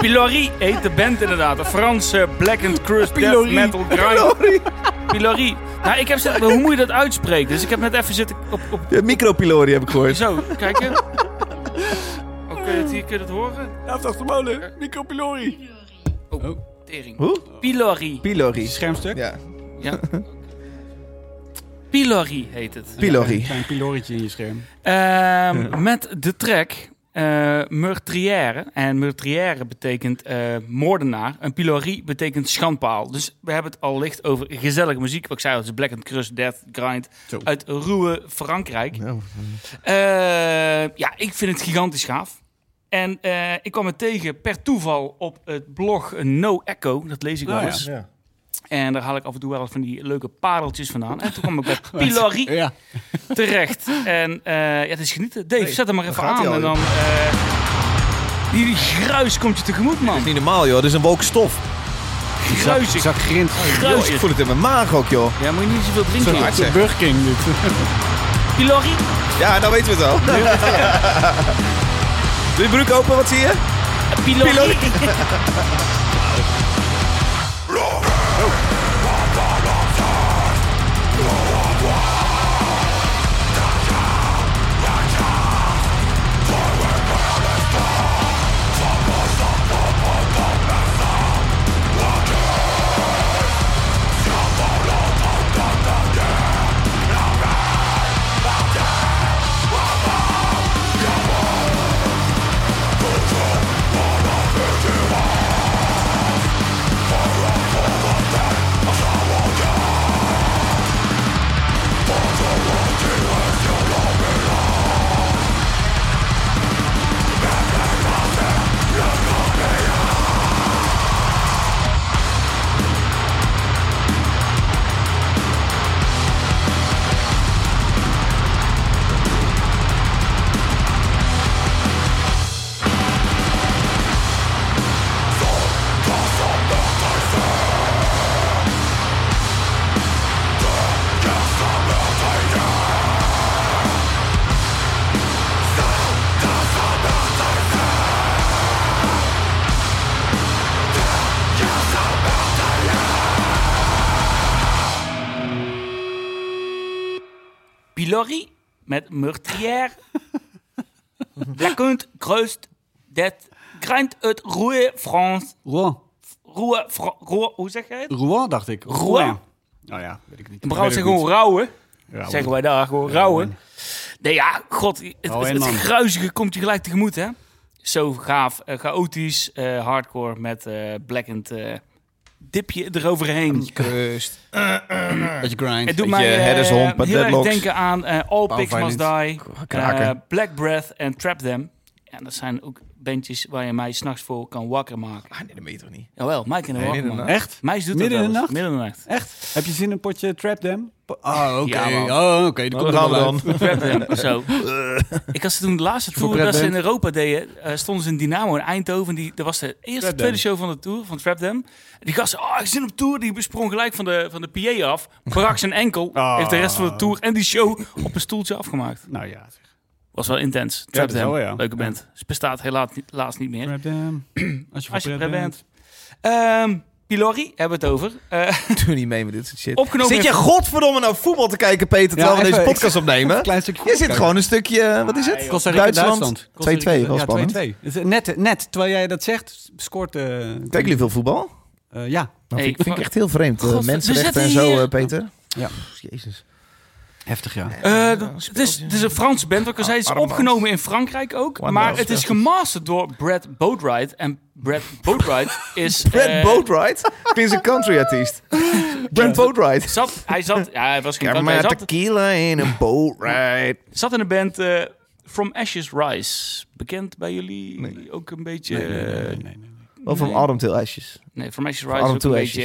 Speaker 2: Pilori heet de band inderdaad. Een Franse black and crust death metal grind. Pilori. Nou, ik heb zitten- hoe moet je dat uitspreken? Dus ik heb net even zitten op, op
Speaker 3: Ja, Micro-pylori heb ik gehoord.
Speaker 2: Zo, kijk hè. Oh, kun je het hier kun je het horen? Oh,
Speaker 1: Hij heeft achtermolen. Micropilori. Oh.
Speaker 2: Tering.
Speaker 3: Hoe?
Speaker 2: Pilori.
Speaker 3: Pylori.
Speaker 1: Schermstuk.
Speaker 3: Ja,
Speaker 2: Ja. Pilori heet het.
Speaker 1: Een
Speaker 3: pylori.
Speaker 1: klein pilorietje in je scherm.
Speaker 2: Ehm, Met de track eh meurtrière. En meurtrière betekent eh, moordenaar. En pilori betekent schandpaal. Dus we hebben het al licht over gezellige muziek. Wat ik zei, dat is Black and Crust, Death, Grind.
Speaker 1: Zo.
Speaker 2: Uit ruwe Frankrijk.
Speaker 3: Nou,
Speaker 2: Eh, ja, ik vind het gigantisch gaaf. En eh, ik kwam het tegen per toeval op het blog No Echo. Dat lees ik wel
Speaker 1: Oh, ja.
Speaker 2: eens.
Speaker 3: Ja.
Speaker 2: En daar haal ik af en toe wel eens van die leuke pareltjes vandaan. En toen kwam ik bij Pilori
Speaker 1: Ja.
Speaker 2: terecht. En eh, ja, het is genieten. Dave, zet hem maar even
Speaker 3: gaat hij
Speaker 2: aan.
Speaker 3: al,
Speaker 2: En dan, eh, die, die gruis komt je tegemoet, man.
Speaker 3: Niet normaal, joh. Dit is een wolk stof.
Speaker 2: Gruisig,
Speaker 1: Zak grind.
Speaker 2: Oh,
Speaker 3: Joh, ik
Speaker 2: gruisig.
Speaker 3: voel het in mijn maag ook, joh.
Speaker 2: Ja, moet je niet zoveel drinken.
Speaker 3: Zo'n
Speaker 2: joh.
Speaker 3: arts, hè.
Speaker 1: Burger King dit.
Speaker 2: Pilori, eh,
Speaker 3: Ja, nou weten we het al. Doe je broek open, wat zie je?
Speaker 2: Pilori.
Speaker 3: Pilori.
Speaker 2: Pilori met Meurtrière. Lekkend, kruist, dat grind uit Roue France.
Speaker 1: Rouen.
Speaker 2: Roue, Fra- Roue, hoe zeg jij het?
Speaker 1: Rouen, dacht ik.
Speaker 2: Rouen?
Speaker 1: Nou ja, weet ik niet.
Speaker 2: In Brabant
Speaker 1: Weet ik
Speaker 2: zeggen gewoon
Speaker 1: niet.
Speaker 2: rauwe.
Speaker 1: Rauwen.
Speaker 2: Zeggen wij daar, gewoon rauwen. Nee ja, god, het, het,
Speaker 1: Rauwe en
Speaker 2: het
Speaker 1: man.
Speaker 2: gruizige komt je gelijk tegemoet hè. Zo gaaf, eh, chaotisch, eh, hardcore met eh blackend eh, dipje eroverheen.
Speaker 3: Kust.
Speaker 1: Beetje grind.
Speaker 2: Het doet
Speaker 3: Beetje
Speaker 2: mij eh,
Speaker 3: headers hompen,
Speaker 2: heel erg
Speaker 3: deadlocks.
Speaker 2: denken aan eh, All
Speaker 1: Power
Speaker 2: Pigs Must Die,
Speaker 3: kraken.
Speaker 2: eh, Black Breath en Trap Them. En dat zijn ook bandjes waar je mij s'nachts voor kan wakker maken.
Speaker 3: Ah, nee, dat weet je toch niet?
Speaker 2: Jawel, mij kan er
Speaker 3: Nee,
Speaker 2: wakker
Speaker 3: midden in de
Speaker 2: maken.
Speaker 1: Echt?
Speaker 2: Meis doet
Speaker 1: Midden
Speaker 2: dat
Speaker 1: in de
Speaker 2: wel eens.
Speaker 1: nacht?
Speaker 2: Midden in de nacht.
Speaker 1: Echt? Heb je zin in een potje Trap Dam? Po- Ah, oké.
Speaker 2: Ja, man.
Speaker 1: oh, oké. Dan
Speaker 3: Nou,
Speaker 1: komt
Speaker 3: daar gaan we
Speaker 1: het wel uit.
Speaker 2: Trap
Speaker 3: dan.
Speaker 2: Them, zo.
Speaker 1: Eh.
Speaker 2: Ik had ze toen de laatste tour
Speaker 1: Trap
Speaker 2: dat ze
Speaker 1: Them?
Speaker 2: in Europa deden, eh, stonden ze in Dynamo in Eindhoven. Die, dat was de eerste,
Speaker 1: Them.
Speaker 2: tweede show van de tour, van Trap Them. Die gasten, oh, ik zit op tour. Die sprong gelijk van de, van de PA af, brak zijn enkel.
Speaker 1: Ah.
Speaker 2: Heeft de rest van de tour en die show op een stoeltje afgemaakt.
Speaker 1: Nou ja. zeg.
Speaker 2: Was wel intens.
Speaker 1: Ja,
Speaker 2: Trap
Speaker 1: dat
Speaker 2: Dam,
Speaker 1: wel, ja.
Speaker 2: leuke band. Ze bestaat helaas niet, helaas niet meer.
Speaker 1: Trap Dam. Als je voor
Speaker 2: Als je
Speaker 1: Trap
Speaker 2: prep
Speaker 1: Dam-
Speaker 2: bent. Ehm, Pilori, hebben we het over. Eh,
Speaker 3: Doe niet mee met dit soort shit.
Speaker 2: opgenomen
Speaker 3: Zit je
Speaker 2: in-
Speaker 3: godverdomme naar voetbal te kijken, Peter, terwijl we
Speaker 1: even-
Speaker 3: deze
Speaker 1: ik
Speaker 3: podcast opnemen?
Speaker 1: Klein stukje.
Speaker 3: Je zit gewoon een stukje, eh, wat is het?
Speaker 1: Costa Rica, Duitsland.
Speaker 3: 2-2, wel
Speaker 1: Ja,
Speaker 3: spannend.
Speaker 1: 2-2. Het is eh, Net, net, terwijl jij dat zegt, scoort... eh,
Speaker 3: Kijken jullie veel voetbal?
Speaker 1: eh, ja,
Speaker 3: Dat
Speaker 2: Hey,
Speaker 3: vind, ik- vind ik echt heel vreemd. eh,
Speaker 2: God, we
Speaker 3: mensenrechten
Speaker 2: zitten
Speaker 3: en zo,
Speaker 2: hier-
Speaker 3: eh, Peter.
Speaker 1: Ja. Eh,
Speaker 3: Pff, Jezus.
Speaker 1: heftig ja.
Speaker 2: Eh, het, is, Ah, het is een Franse band, wat ik al zei. Het is
Speaker 3: Armband.
Speaker 2: opgenomen in Frankrijk ook.
Speaker 3: One
Speaker 2: maar
Speaker 3: love,
Speaker 2: het is
Speaker 3: ja.
Speaker 2: gemasterd door Brad Boatwright. En Brad Boatwright is... eh,
Speaker 3: Brent Boatwright? is een country artiest. Brent Boatwright.
Speaker 2: Zat, hij zat... Ja, hij was geen
Speaker 3: Ja,
Speaker 2: kant, hij
Speaker 3: maar
Speaker 2: zat,
Speaker 3: tequila in een boatwright.
Speaker 2: zat in de band eh, From Ashes Rise. Bekend bij jullie ook een beetje... eh, Nee,
Speaker 3: Of van Adam Till Ashes.
Speaker 2: From Ashes Rise
Speaker 3: Adam
Speaker 2: ook een
Speaker 3: Till
Speaker 2: beetje...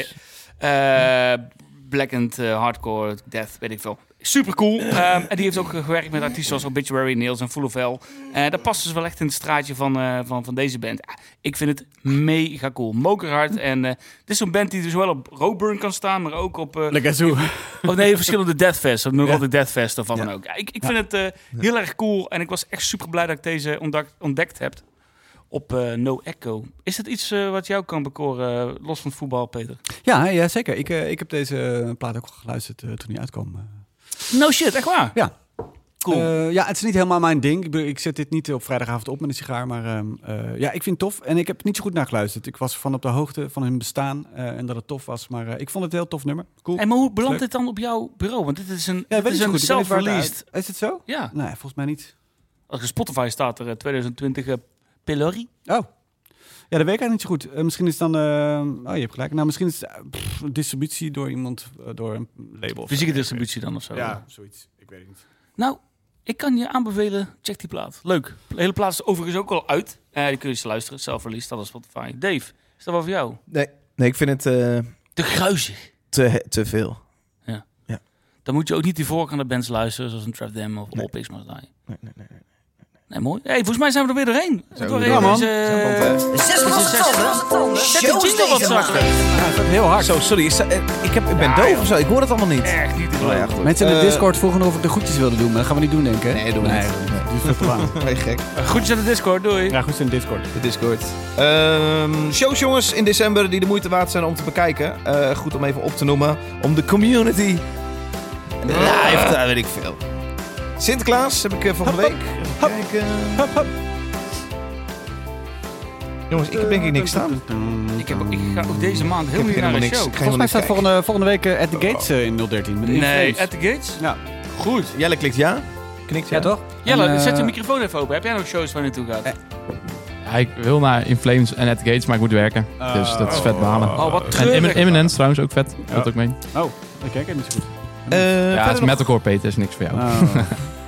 Speaker 3: Ashes.
Speaker 2: eh, blackend eh, hardcore death, weet ik veel. Super cool. en die heeft ook eh, gewerkt met artiesten zoals Obituary, Nails en Full of Hell. Eh, dat past dus wel echt in het straatje van, eh, van, van deze band. Ah, ik vind het mega cool. Mokerhard. En eh, dit is zo'n band die dus wel op Roadburn kan staan, maar ook op... eh,
Speaker 1: Lekker zo.
Speaker 2: of nee, verschillende Deathfest. Op Neurotic Deathfest of wat dan ook. Ja, ik ik vind het eh, heel erg cool. En ik was echt super blij dat ik deze ontdekt, ontdekt heb. Op eh, No Echo. Is dat iets eh, wat jou kan bekoren, eh, los van het voetbal, Peter?
Speaker 1: Ja, hè, ja zeker. Ik, eh, ik heb deze eh, plaat ook al geluisterd eh, toen die uitkwam. eh.
Speaker 2: No shit, echt waar?
Speaker 1: Ja.
Speaker 2: Cool.
Speaker 1: Eh, ja, het is niet helemaal mijn ding. Ik, bedoel, ik zet dit niet op vrijdagavond op met een sigaar. Maar ehm, eh, ja, ik vind het tof. En ik heb niet zo goed naar geluisterd. Ik was van op de hoogte van hun bestaan eh, en dat het tof was. Maar eh, ik vond het een heel tof nummer. Cool.
Speaker 2: Hey, maar hoe belandt
Speaker 1: Leuk.
Speaker 2: dit dan op jouw bureau? Want dit is een,
Speaker 1: Ja,
Speaker 2: dit
Speaker 1: weet ik
Speaker 2: is
Speaker 1: zo
Speaker 2: een
Speaker 1: goed. Ik weet niet waar het
Speaker 2: self-released.
Speaker 1: uit- Is het zo?
Speaker 2: Ja,
Speaker 1: Nee, volgens mij niet.
Speaker 2: als je Spotify staat er eh, 2020 eh, Pillory.
Speaker 1: Oh. Ja, dat weet ik eigenlijk niet zo goed. Eh, misschien is het dan... eh, oh, je hebt gelijk. Nou, misschien is het eh, pff, distributie door iemand, eh, door een label. of zo.
Speaker 2: Fysieke distributie dan of zo.
Speaker 1: Ja, zoiets. Ik weet het niet.
Speaker 2: Nou, ik kan je aanbevelen, check die plaat. Leuk. De hele plaat is overigens ook al uit. Eh die kun je eens luisteren. Self-release, staat op Spotify. Dave, is dat wel voor jou?
Speaker 3: Nee, nee ik vind het eh,
Speaker 2: Te gruizig.
Speaker 3: te, te veel.
Speaker 2: Dan moet je ook niet die voorkant de bands luisteren, zoals een Trap Dam of
Speaker 3: Nee.
Speaker 2: All Pigs Must Die.
Speaker 3: Nee, nee, nee.
Speaker 2: Nee, mooi. Hey, volgens mij zijn we er weer doorheen.
Speaker 3: we
Speaker 2: Doorheen
Speaker 3: doen, man.
Speaker 1: Eh.
Speaker 2: Deze,
Speaker 3: eh,
Speaker 6: Zes losse tanden.
Speaker 2: zet de eh, jingle wat zachter.
Speaker 3: Heel hard. Zo, sorry. is- eh, ik, heb, ik ben doof of zo. Ik hoor het allemaal niet.
Speaker 2: Echt niet te
Speaker 3: Nou ja,
Speaker 2: geloven.
Speaker 3: goed.
Speaker 1: Mensen in de
Speaker 3: Eh,
Speaker 1: Discord vroegen of ik de groetjes wilde doen, maar dat gaan we niet doen, denk ik. hè?
Speaker 3: Nee, doen we niet.
Speaker 1: Nee, die is veel te laat.
Speaker 3: Nee, gek.
Speaker 2: Groetjes aan de Discord, doei.
Speaker 1: Ja, goed in de Discord.
Speaker 3: De Discord. Ehm, shows, jongens, in december die de moeite waard zijn om te bekijken. Eh, goed om even op te noemen. Om de community. Live, daar weet ik veel. Sinterklaas heb ik eh, volgende week. Even kijken. Jongens, ik heb denk ik niks staan.
Speaker 2: Ik, heb, ik ga ook deze maand
Speaker 3: Ik heb
Speaker 2: helemaal niet naar
Speaker 3: helemaal
Speaker 2: de
Speaker 3: niks.
Speaker 2: show.
Speaker 3: Ik ga
Speaker 1: Volgens mij staat
Speaker 3: helemaal
Speaker 1: volgende,
Speaker 3: niet
Speaker 1: volgende week eh, At The Gates eh, in 013. Met
Speaker 2: Nee,
Speaker 1: Influence.
Speaker 2: At The Gates?
Speaker 1: Ja.
Speaker 2: Goed.
Speaker 3: kijken. Jelle klikt ja. Knikt ja.
Speaker 1: Ja, toch?
Speaker 2: Jelle,
Speaker 1: En, eh,
Speaker 2: zet je microfoon even open. Heb jij nog shows waar je naartoe gaat?
Speaker 7: Ja, ik wil naar In Flames en At The Gates, maar ik moet werken. Dus dat is vet balen.
Speaker 2: Oh, wat
Speaker 7: En
Speaker 2: treurig.
Speaker 7: Immin- Imminence trouwens ook vet. Dat ook mee.
Speaker 1: Oh, ik kijk even niet zo goed.
Speaker 3: Eh,
Speaker 7: Ja, het
Speaker 3: verder,
Speaker 7: is
Speaker 3: nog,
Speaker 7: metalcore, Peter. is niks voor jou.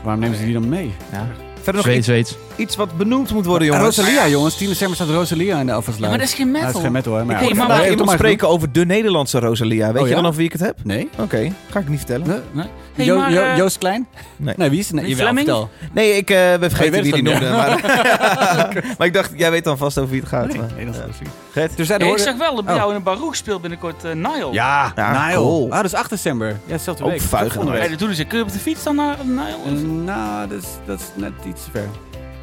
Speaker 1: Oh, waarom nemen ze die dan mee?
Speaker 7: Ja.
Speaker 3: verder nog
Speaker 7: Zweeds,
Speaker 3: iets,
Speaker 7: Zweeds.
Speaker 3: iets wat benoemd moet worden, jongens.
Speaker 1: Ah, Rosalia, jongens. 10 december staat Rosalia in de
Speaker 2: Ja,
Speaker 1: afvalsluit.
Speaker 2: maar dat is geen
Speaker 1: Ja,
Speaker 2: metal.
Speaker 1: dat is geen metal, hè? Maar
Speaker 2: Ik weet-
Speaker 1: ja,
Speaker 2: maar-
Speaker 1: dat
Speaker 3: Nou,
Speaker 1: heb je toch
Speaker 3: iemand
Speaker 1: maar
Speaker 3: spreken over de Nederlandse Rosalia. Weet
Speaker 1: Oh,
Speaker 3: je
Speaker 1: ja?
Speaker 3: dan over wie ik het heb?
Speaker 1: genoemd. Nee?
Speaker 3: Oké, ga ik niet vertellen.
Speaker 2: Hey,
Speaker 1: Jo-
Speaker 2: maar,
Speaker 1: Jo-
Speaker 2: eh,
Speaker 1: Joost Klein?
Speaker 3: Nee.
Speaker 1: wie is het? Nee,
Speaker 2: Die
Speaker 1: jawel,
Speaker 2: Fleming?
Speaker 1: vertel.
Speaker 3: Nee, ik eh, ben vergeten
Speaker 1: Oh, weet
Speaker 3: wie die
Speaker 1: het dan,
Speaker 3: noemde. Maar, maar ik dacht, jij weet dan vast over wie het gaat. maar,
Speaker 1: Nee, dat is
Speaker 3: eh,
Speaker 1: wel ziek.
Speaker 3: Gert?
Speaker 1: Dus zij
Speaker 2: Hey, Oh, ik
Speaker 1: hoorden-
Speaker 2: zag wel dat bij
Speaker 1: Oh.
Speaker 2: jou in een Baruch speelt binnenkort eh Nile.
Speaker 1: Ja,
Speaker 3: Ja,
Speaker 1: Nile.
Speaker 3: cool.
Speaker 1: Ah, dat is 8 december. Ja, hetzelfde
Speaker 3: Ook nou
Speaker 1: week.
Speaker 3: vuig
Speaker 1: Dat volgende
Speaker 3: aan de
Speaker 2: Hey,
Speaker 1: week.
Speaker 2: dat doen ze. Kun je op de fiets dan naar Nile?
Speaker 1: Eh, nou, dat is, dat is net iets te ver.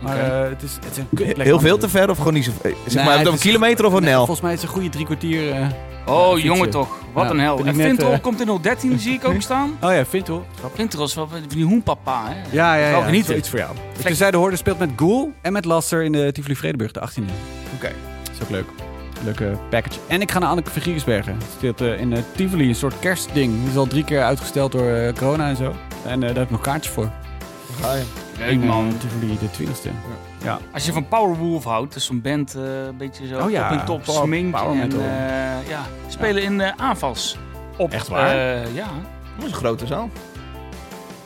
Speaker 1: Maar
Speaker 2: Oké.
Speaker 1: eh, het, is, het is een kutplek.
Speaker 3: Heel veel
Speaker 1: Amsterdam.
Speaker 3: te ver of gewoon niet zo ver? Eh, Zeg
Speaker 1: Nee,
Speaker 3: maar, heb je het
Speaker 1: het is-
Speaker 3: over kilometer of een
Speaker 1: Nee,
Speaker 3: nel?
Speaker 1: Volgens mij is het een goede drie kwartier. eh.
Speaker 2: Oh,
Speaker 1: fietsen.
Speaker 2: jongen toch. Wat
Speaker 1: Ja,
Speaker 2: een hel.
Speaker 1: ben
Speaker 2: En
Speaker 1: ik net,
Speaker 2: Vintrol
Speaker 1: eh,
Speaker 2: komt in 013, zie ik ook staan.
Speaker 1: Oh ja, vindt hoor.
Speaker 2: Vintrol is wel van die hoenpapa, hè?
Speaker 1: Ja, ja,
Speaker 2: Wel
Speaker 1: ja.
Speaker 2: genieten.
Speaker 1: Iets voor jou. Dus zij de hoorde speelt met Ghoul en met Laster in de Tivoli Vredenburg, de 18e.
Speaker 3: Oké.
Speaker 1: Dat is ook leuk. Leuke package. En ik ga naar Anneke van Giersbergen. Ze speelt eh, in eh, Tivoli, een soort kerstding. Die is al drie keer uitgesteld door eh, corona en zo. En eh, daar heb ik nog kaartjes voor.
Speaker 2: Leuk, man.
Speaker 1: In, eh, Tivoli de 20e.
Speaker 2: Als je van Powerwolf houdt, dus zo'n band eh, een beetje zo
Speaker 1: Oh ja,
Speaker 2: op en top,
Speaker 1: power-
Speaker 2: smink
Speaker 1: power
Speaker 2: en
Speaker 1: metal.
Speaker 2: eh, ja, spelen in eh, aanvals. Op,
Speaker 1: Echt waar?
Speaker 2: eh, ja,
Speaker 3: Dat is een grote zaal.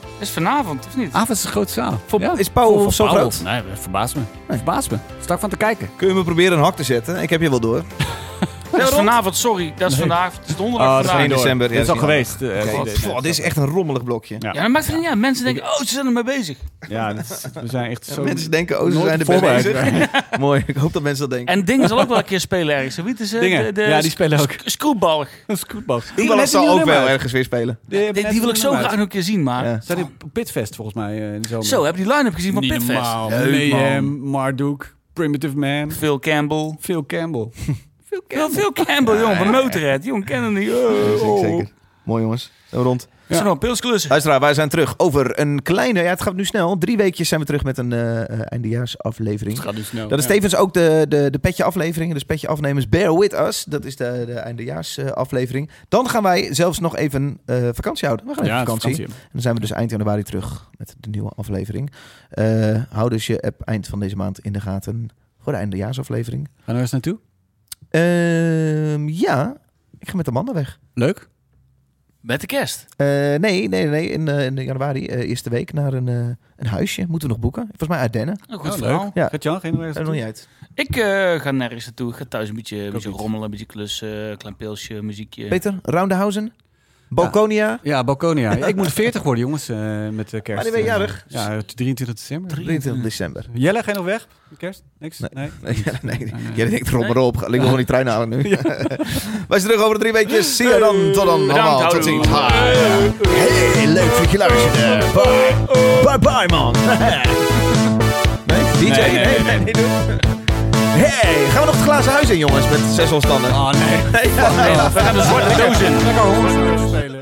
Speaker 2: dat is vanavond, of niet?
Speaker 1: Avond is een grote zaal.
Speaker 3: Voor-
Speaker 1: Ja.
Speaker 3: Is Powerwolf zo Oh,
Speaker 1: Paul.
Speaker 3: groot?
Speaker 1: Nee, dat verbaast me. Dat Verbaast me. Start van te kijken.
Speaker 3: Kun je me proberen een hak te zetten? Ik heb je wel door.
Speaker 2: dat is vanavond, sorry. Dat is vandaag, het is donderdag
Speaker 1: Oh, dat is
Speaker 2: vandaag.
Speaker 1: geen door.
Speaker 3: december. ja,
Speaker 1: Dit is al
Speaker 3: dat niet
Speaker 1: geweest. eh,
Speaker 3: handig.
Speaker 1: voor
Speaker 3: Oké,
Speaker 1: deze
Speaker 3: pff, dit is echt een rommelig blokje.
Speaker 1: Ja.
Speaker 2: Ja, dat maakt het niet uit. Mensen denken, oh, ze zijn ermee bezig.
Speaker 1: Ja, dat is- we zijn echt zo...
Speaker 3: Mensen denken, oh, ze
Speaker 1: nooit
Speaker 3: zijn er best
Speaker 1: voorbereid.
Speaker 3: bezig. Mooi, ik hoop dat mensen dat denken.
Speaker 2: En Dingen zal ook wel een keer spelen ergens. Wie is eh,
Speaker 1: Dingen.
Speaker 2: de, de
Speaker 1: ja, die spelen ook.
Speaker 2: sc- screwbalg.
Speaker 1: Dat is goed,
Speaker 3: Die zal ook wel ergens weer spelen.
Speaker 2: Die, die wil ik zo graag nog een keer zien, maar...
Speaker 3: Ja.
Speaker 1: Zijn die op Pitfest volgens mij eh, in de zomer?
Speaker 2: Zo, heb je die line-up gezien van
Speaker 1: Niet
Speaker 2: Pitfest?
Speaker 1: normaal.
Speaker 2: Leuk, man.
Speaker 1: Mayhem, Marduk, Primitive Man,
Speaker 2: Phil Campbell.
Speaker 1: Phil Campbell. Phil
Speaker 2: Phil, Phil Campbell, jong, van Motorhead. Jong, kennen die. Oh,
Speaker 3: Zeker,
Speaker 2: oh.
Speaker 3: Zeker. Mooi jongens, Zo rond.
Speaker 2: Zijn we nog pilsklussen?
Speaker 3: Luisteraar, wij zijn terug over een kleine, ja het gaat nu snel, drie weekjes zijn we terug met een eh, eh, eindejaarsaflevering.
Speaker 1: gaat nu snel.
Speaker 3: Dat is tevens ook de, de, de petje afleveringen, dus petje afnemers Bear With Us. Dat is de, de eindejaars eh, aflevering. Dan gaan wij zelfs nog even eh, vakantie houden. We gaan even
Speaker 1: Ja,
Speaker 3: vakantie.
Speaker 1: vakantie.
Speaker 3: En dan zijn we dus eind januari terug met de nieuwe aflevering. Eh, hou dus je app eind van deze maand in de gaten voor de eindejaarsaflevering.
Speaker 1: Gaan we eens naartoe?
Speaker 3: Ehm, ja, ik ga met de mannen weg.
Speaker 1: Leuk.
Speaker 2: Met de kerst.
Speaker 3: Eh, nee, nee, nee, in, eh, in januari, eh, eerste week, naar een, eh, een huisje. Moeten we nog boeken? Volgens mij uit Dennen.
Speaker 2: Een goed
Speaker 1: Oh,
Speaker 2: verhaal.
Speaker 1: leuk.
Speaker 3: Ja.
Speaker 1: Gaat Jan geen
Speaker 3: Er nog niet uit.
Speaker 2: Ik eh, ga nergens naartoe. Ik ga thuis een beetje, een beetje
Speaker 1: niet.
Speaker 2: rommelen, een beetje klussen, klein pilsje, muziekje.
Speaker 3: Peter, Roundehausen? Balconia.
Speaker 1: Ja, Balconia. Ja, ik moet 40 worden, jongens, eh, met de kerst.
Speaker 3: Wanneer ben je jarig?
Speaker 1: Ja, 23 december.
Speaker 3: 23 december.
Speaker 1: Jelle, ga je nog weg? Kerst? Niks? Nee.
Speaker 3: Nee, nee, Jij denkt erop maar op. Ik wil gewoon die trein halen nu. Wij zijn terug over de drie weekjes. Zie je dan. Tot dan. allemaal. Tot
Speaker 2: houdoe.
Speaker 3: ziens. Bye. Hey, leuk dat je luisterde. Bye. Bye bye man. Nee, DJ. Nee, nee, nee, doe. Hey, gaan we nog het glazen huis in jongens met zes onstanden?
Speaker 1: Oh nee.
Speaker 3: Nee, Ah. fuck.
Speaker 2: We gaan de zwarte doos in.
Speaker 1: Lekker hoorspelen.